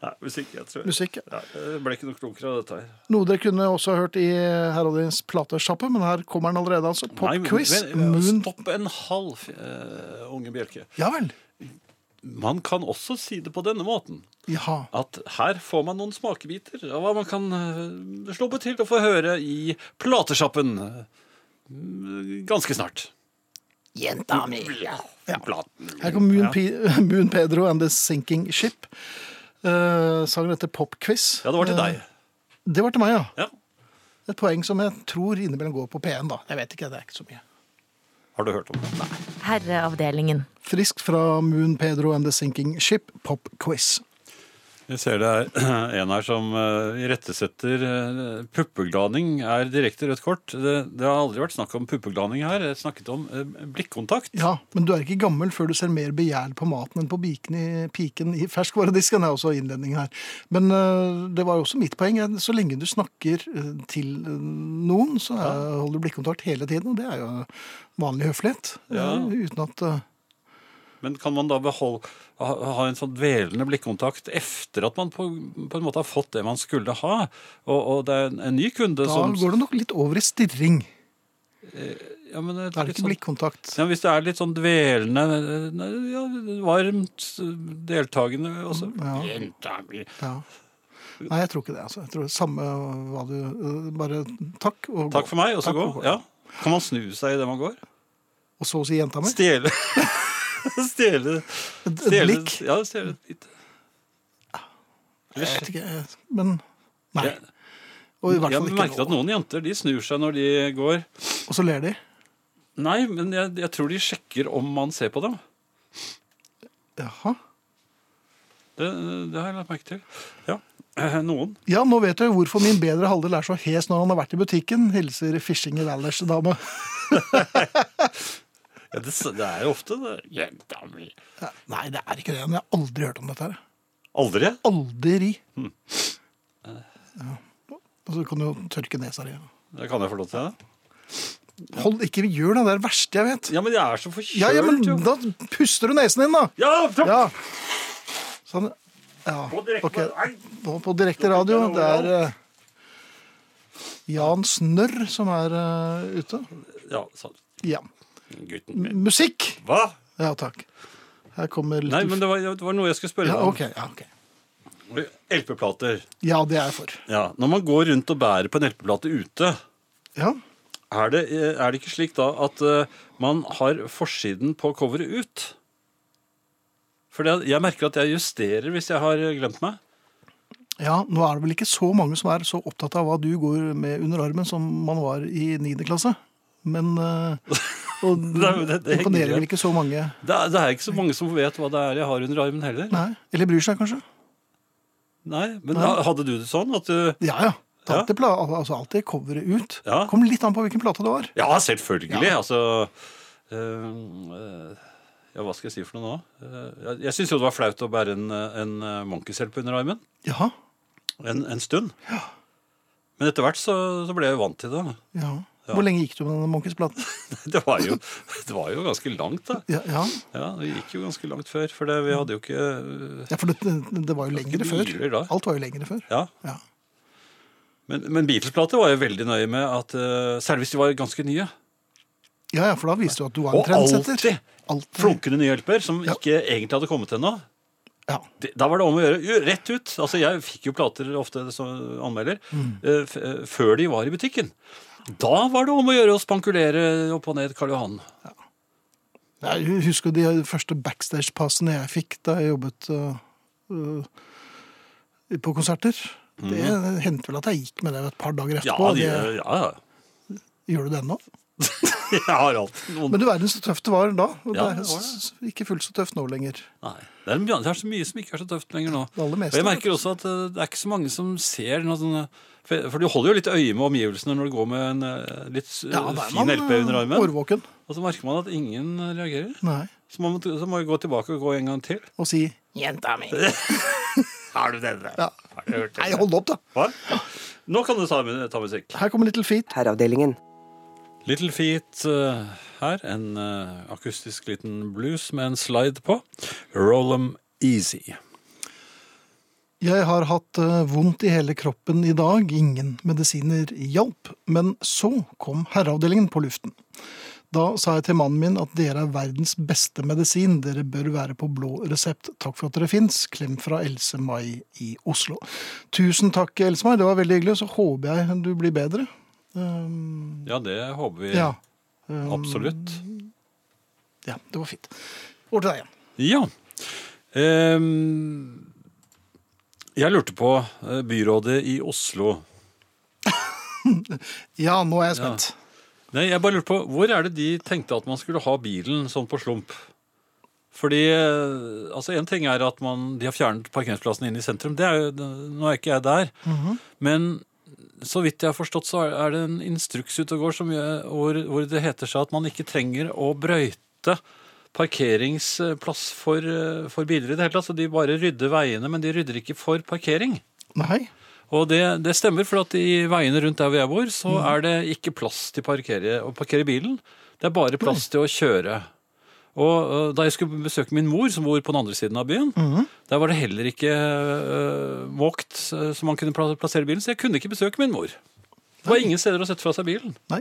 Nei, musikk. Jeg tror Musikk. ja. Ja, det ble ikke noe klokere av dette her. Noe dere kunne også ha hørt i Heraldins platesjappe, men her kommer den allerede, altså. Nei, Popquiz. men- Moon. Stopp en halv, eh, unge Bjelke. Ja vel. Man kan også si det på denne måten. Jaha. At her får man noen smakebiter av hva man kan eh, slå på til å få høre i platesjappen eh, ganske snart. Jenta mi. Ja. Platen. Her kommer Moon, Pe- Moon Pedro and The Sinking Ship. Eh, sangen heter Popquiz. Ja, det var til Eh, deg. Det var til meg, ja. Ja. Et poeng som jeg tror innimellom går på P1, da. Jeg vet ikke, det er ikke så mye. Har du hørt om det? Nei. Herreavdelingen. Friskt fra Moon Pedro and The Sinking Ship, popquiz. Jeg ser det er en her som eh, irettesetter eh, puppeglaning er direkte rødt kort. Det, det har aldri vært snakk om puppeglaning her. Det er snakket om eh, blikkontakt. Ja, men du er ikke gammel før du ser mer begjær på maten enn på biken i, piken i ferskvaredisken, er også innledningen her. Men øh, det var jo også mitt poeng. jeg- Så lenge du snakker øh, til øh, noen, så er, holder du blikkontakt hele tiden, og det er jo vanlig høflighet. Ja. øh, Uten at øh, Men kan man da beholde, ha, ha en sånn dvelende blikkontakt efter at man på, på en måte har fått det man skulle ha? Og, og det er en, en ny kunde Da som går det nok litt over i stirring. ja, men det er Da er det litt ikke sånn- blikkontakt. Ja, hvis det er litt sånn dvelende, eh, ja, varmt, deltakende også. Mm, Jenta mi. Ja. Nei, jeg tror ikke det. altså. Jeg tror Samme hva du øh, Bare takk og gå. Takk for meg, og så Takk gå. og gå. Ja. Kan man snu seg idet man går? Og så sier jenta mi Stjele Stjele et, et stjele- blikk. Ja, stjele et bit. Jeg vet ikke, jeg- men Nei. Jeg, Og i hvert jeg fall ikke merket at nå. noen jenter de snur seg når de går. Og så ler de. Nei, men jeg, jeg tror de sjekker om man ser på dem. Jaha. Det, det har jeg lagt merke til. Ja, eh, Noen. Ja, nå vet jeg hvorfor min bedre halvdel er så hes når han har vært i butikken, hilser Fishing i Valdres-dame. Ja, det, s- det er jo ofte det. Jenta mi. Nei, det er ikke det. Men jeg har aldri hørt om dette her. Aldri? Aldri. Ja. Hmm. Og så kan du jo tørke nesa di. Det kan jeg få lov til. ja. Hold ikke gjør det, det er det verste jeg vet. Ja, men jeg er så forkjølt, Ja, ja, men jo. da puster du nesen din, da. Ja, takk! Ja. Sånn. Ja. Ok. Nå på direkte radio. Det er eh, Jan Snørr som er eh, ute. Ja, sånn. Ja. Gutten min. Musikk! Hva? Ja, takk. Her kommer litt Nei, men det var, det var noe jeg skulle spørre ja, deg om. ok, ja, ok. LP-plater. Ja, det er jeg for. Ja, Når man går rundt og bærer på en LP-plate ute, Ja. er det, eh, er det ikke slik da at eh, man har forsiden på coveret ut? For det- jeg merker at jeg justerer hvis jeg har eh, glemt meg. ja, nå er det vel ikke så mange som er så opptatt av hva du går med under armen som man var i 9. klasse. Men eh, Og Nei, men det- det henger imponerer igjen. vel ikke så mange. Det er, det er ikke så mange som vet hva det er jeg har under armen heller. Nei, Nei. Eller bryr seg, kanskje. Men da hadde du det sånn at du Ja, ja. Ta Alltid, pla al- altså alltid coveret ut. Ja. Kom litt an på hvilken plate det var. Ja, selvfølgelig! Altså eh, eh, Ja, hva skal jeg si for noe nå? Eh, jeg jeg syns jo det var flaut å bære en, eh, en eh, Monkeys-LP under armen Ja. en, en stund. Men etter hvert så, så ble jeg vant til det. ja. Hvor lenge gikk du med denne Monkeys-platen? Det var jo, det var jo ganske langt, da. Ja, ja. Ja, Det gikk jo ganske langt før, for det, vi hadde jo ikke ja, for det, det var jo lengre før. biler da. Alt var jo lengre før. Ja, Ja. Men, men Beatles-plater var jeg veldig nøye med, at, eh, særlig hvis de var ganske nye. Ja, ja, for da viste du at du var en Og trendsetter. alltid Alltid. flunkende nye hjelper som ikke egentlig hadde kommet ennå. Ja. Det, da var det om å gjøre jo, rett ut. Altså, jeg fikk jo plater ofte som anmelder Mm. eh, f eh, før de var i butikken. Da var det om å gjøre å spankulere opp og ned Karl Johan. Jeg husker de første backstage-passene jeg fikk da jeg jobbet øh, øh, på konserter. Det hendte vel at jeg gikk med det et par dager Ja, etterpå. de, Mm. det, ja, ja. Gjør du det ennå? Jeg har alltid noen Men du verden så tøft det var da. Og Ja, det er det var det. s- s- ikke fullt så tøft nå lenger. Nei. Det er, mye- det er så mye som ikke er så tøft lenger nå. Det aller meste. Og jeg merker også at eh, det er ikke så mange som ser noe sånn For, for du holder jo litt øye med omgivelsene når du går med en eh, litt eh, da er fin man, LP under øh, armen. Årvåken. Og så merker man at ingen eh, reagerer. Nei. Så må, man- så må vi gå tilbake og gå en gang til. Og si Jenta mi. Har du denne? ja. Har du hørt Nei, hold opp, da! Hva? Nå kan du ta, ta musikk. Her kommer Little Feet. Herreavdelingen. Little Feet eh, her. En eh, akustisk liten blues med en slide på. Roll 'em easy. Jeg har hatt eh, vondt i hele kroppen i dag, ingen medisiner hjalp. Men så kom herreavdelingen på luften. Da sa jeg til mannen min at dere er verdens beste medisin, dere bør være på blå resept. Takk for at dere fins. Klem fra Else-May i Oslo. Tusen takk, Else-May, det var veldig hyggelig. Så håper jeg du blir bedre. Um, Ja, det håper vi ja. Um, absolutt. Ja, det var fint. Over til deg igjen. Ja. Ehm, jeg lurte på eh, byrådet i Oslo. Ja, nå er jeg spent. Nei, jeg bare lurte på, Hvor er det de tenkte at man skulle ha bilen sånn på slump? Fordi eh, altså en ting er at man, de har fjernet parkeringsplassen inne i sentrum. det er jo, Nå er ikke jeg der. Men så vidt jeg har forstått, så er- er det en instruks ute og går som gjør, hvor, hvor det heter seg at man ikke trenger å brøyte parkeringsplass for, eh, for biler i det hele tatt. Så de bare rydder veiene, men de rydder ikke for parkering. Nei? Og det, det stemmer, for at i veiene rundt der hvor jeg bor, så er det ikke plass til parkere, å parkere bilen. Det er bare plass til å kjøre. Og øh, da jeg skulle besøke min mor, som bor på den andre siden av byen, der var det heller ikke øh, walked, øh, så man kunne pla- plassere bilen, så jeg kunne ikke besøke min mor. Det var ingen steder å sette fra seg bilen. Nei?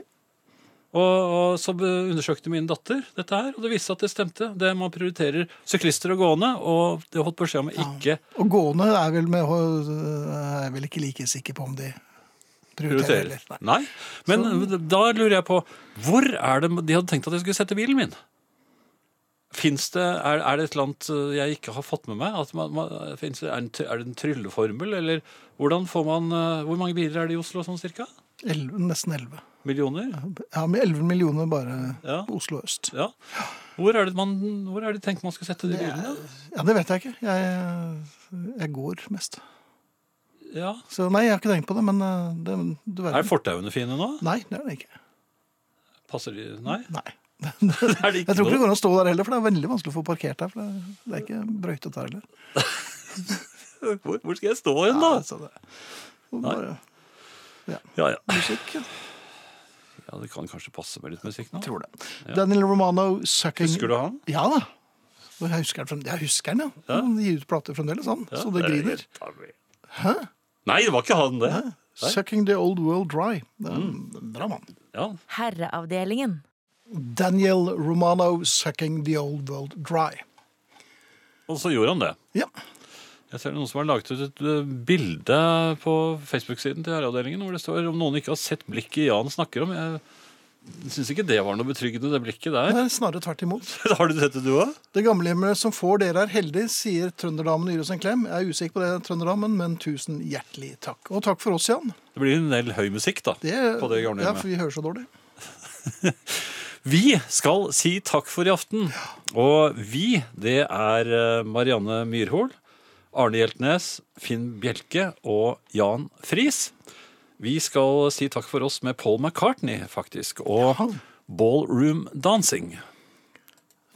Og, og så be- undersøkte min datter dette her, og det viste seg at det stemte. Det Man prioriterer syklister og gående, og det holdt beskjed om å ikke Og gående er vel med Jeg er vel ikke like sikker på om de prioriterer prioriterer. heller. Nei. Nei. Men da lurer jeg på Hvor er det de hadde tenkt at jeg skulle sette bilen min? Finnes det, er, er det et eller annet eh, jeg ikke har fått med meg? At man, man, finnes det, er, det en, try- er det en trylleformel? Eller hvordan får man eh, Hvor mange biler er det i Oslo sånn cirka? Elleve- nesten 11. Millioner? Ja, med 11 millioner bare Ja. på Oslo øst. Ja. Hvor er det, man, hvor er det tenkt man skal sette de bilene? Ja, det vet jeg ikke. Jeg, jeg går mest. Ja. Så nei, jeg har ikke tenkt på det, men eh, det, du Er verden. fortauene fine nå? Nei, det er det ikke. Passer de Nei? Nei. Er det Jeg ikke tror ikke det noe? går an å stå der heller, for det er veldig vanskelig å få parkert her. For det, det er ikke brøytet der heller. Hvor, hvor skal jeg stå hen, da? Ja, altså. så det, og bare Ja, ja. musikk. ja. ja, det kan kanskje passe med litt musikk nå? Tror det. Daniel Romano, 'Sucking Husker du han? Ja da. Og Jeg husker den, frem- jeg husker den, ja. Han gir ut plater fremdeles, han. Ja, så det er griner. helt avgjørende. Nei, det var ikke han, det. Sucking the old world dry. Det er en Mm. Bra mann. Ja. Herreavdelingen. Daniel Romano, 'Sucking the old world dry'. Og så gjorde han det. Ja. Jeg ser noen som har laget ut et eh, bilde på Facebook-siden til Herreavdelingen hvor det står om noen ikke har sett blikket Jan snakker om. Jeg syns ikke det var noe betryggende, det blikket Det der. er snarere tvert imot. har du sett det, du òg? Det gamlehjemmet som får dere er heldig, sier trønderdamen og gir oss en klem. Jeg er usikker på det, trønderdamen, men tusen hjertelig takk. Og takk for oss, Jan. Det blir en del høy musikk, da. Det, på det gamle ja, hjemmet. for vi hører så dårlig. Vi skal si takk for i aften. Og vi, det er eh, Marianne Myrhol, Arne Hjeltnes, Finn Bjelke og Jan Friis. Vi skal si takk for oss med Paul McCartney, faktisk, og Ballroom Dancing.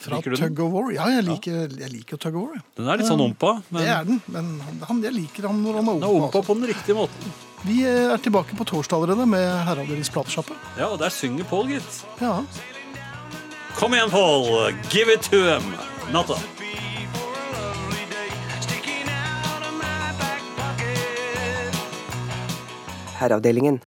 Fra Liker du den? Tug of War. Ja, jeg liker, jeg liker Tug of War. jeg. Den er litt sånn ompa, Det men er den, men han, jeg liker han når han den er altså. er ung. ompa på den riktige måten. Vi eh, er tilbake på torsdag allerede med Herreavdelingens platesjappe. Ja, og der synger Paul, gitt. Ja. Kom igjen, Paul! Give it to him! Natta. Herreavdelingen.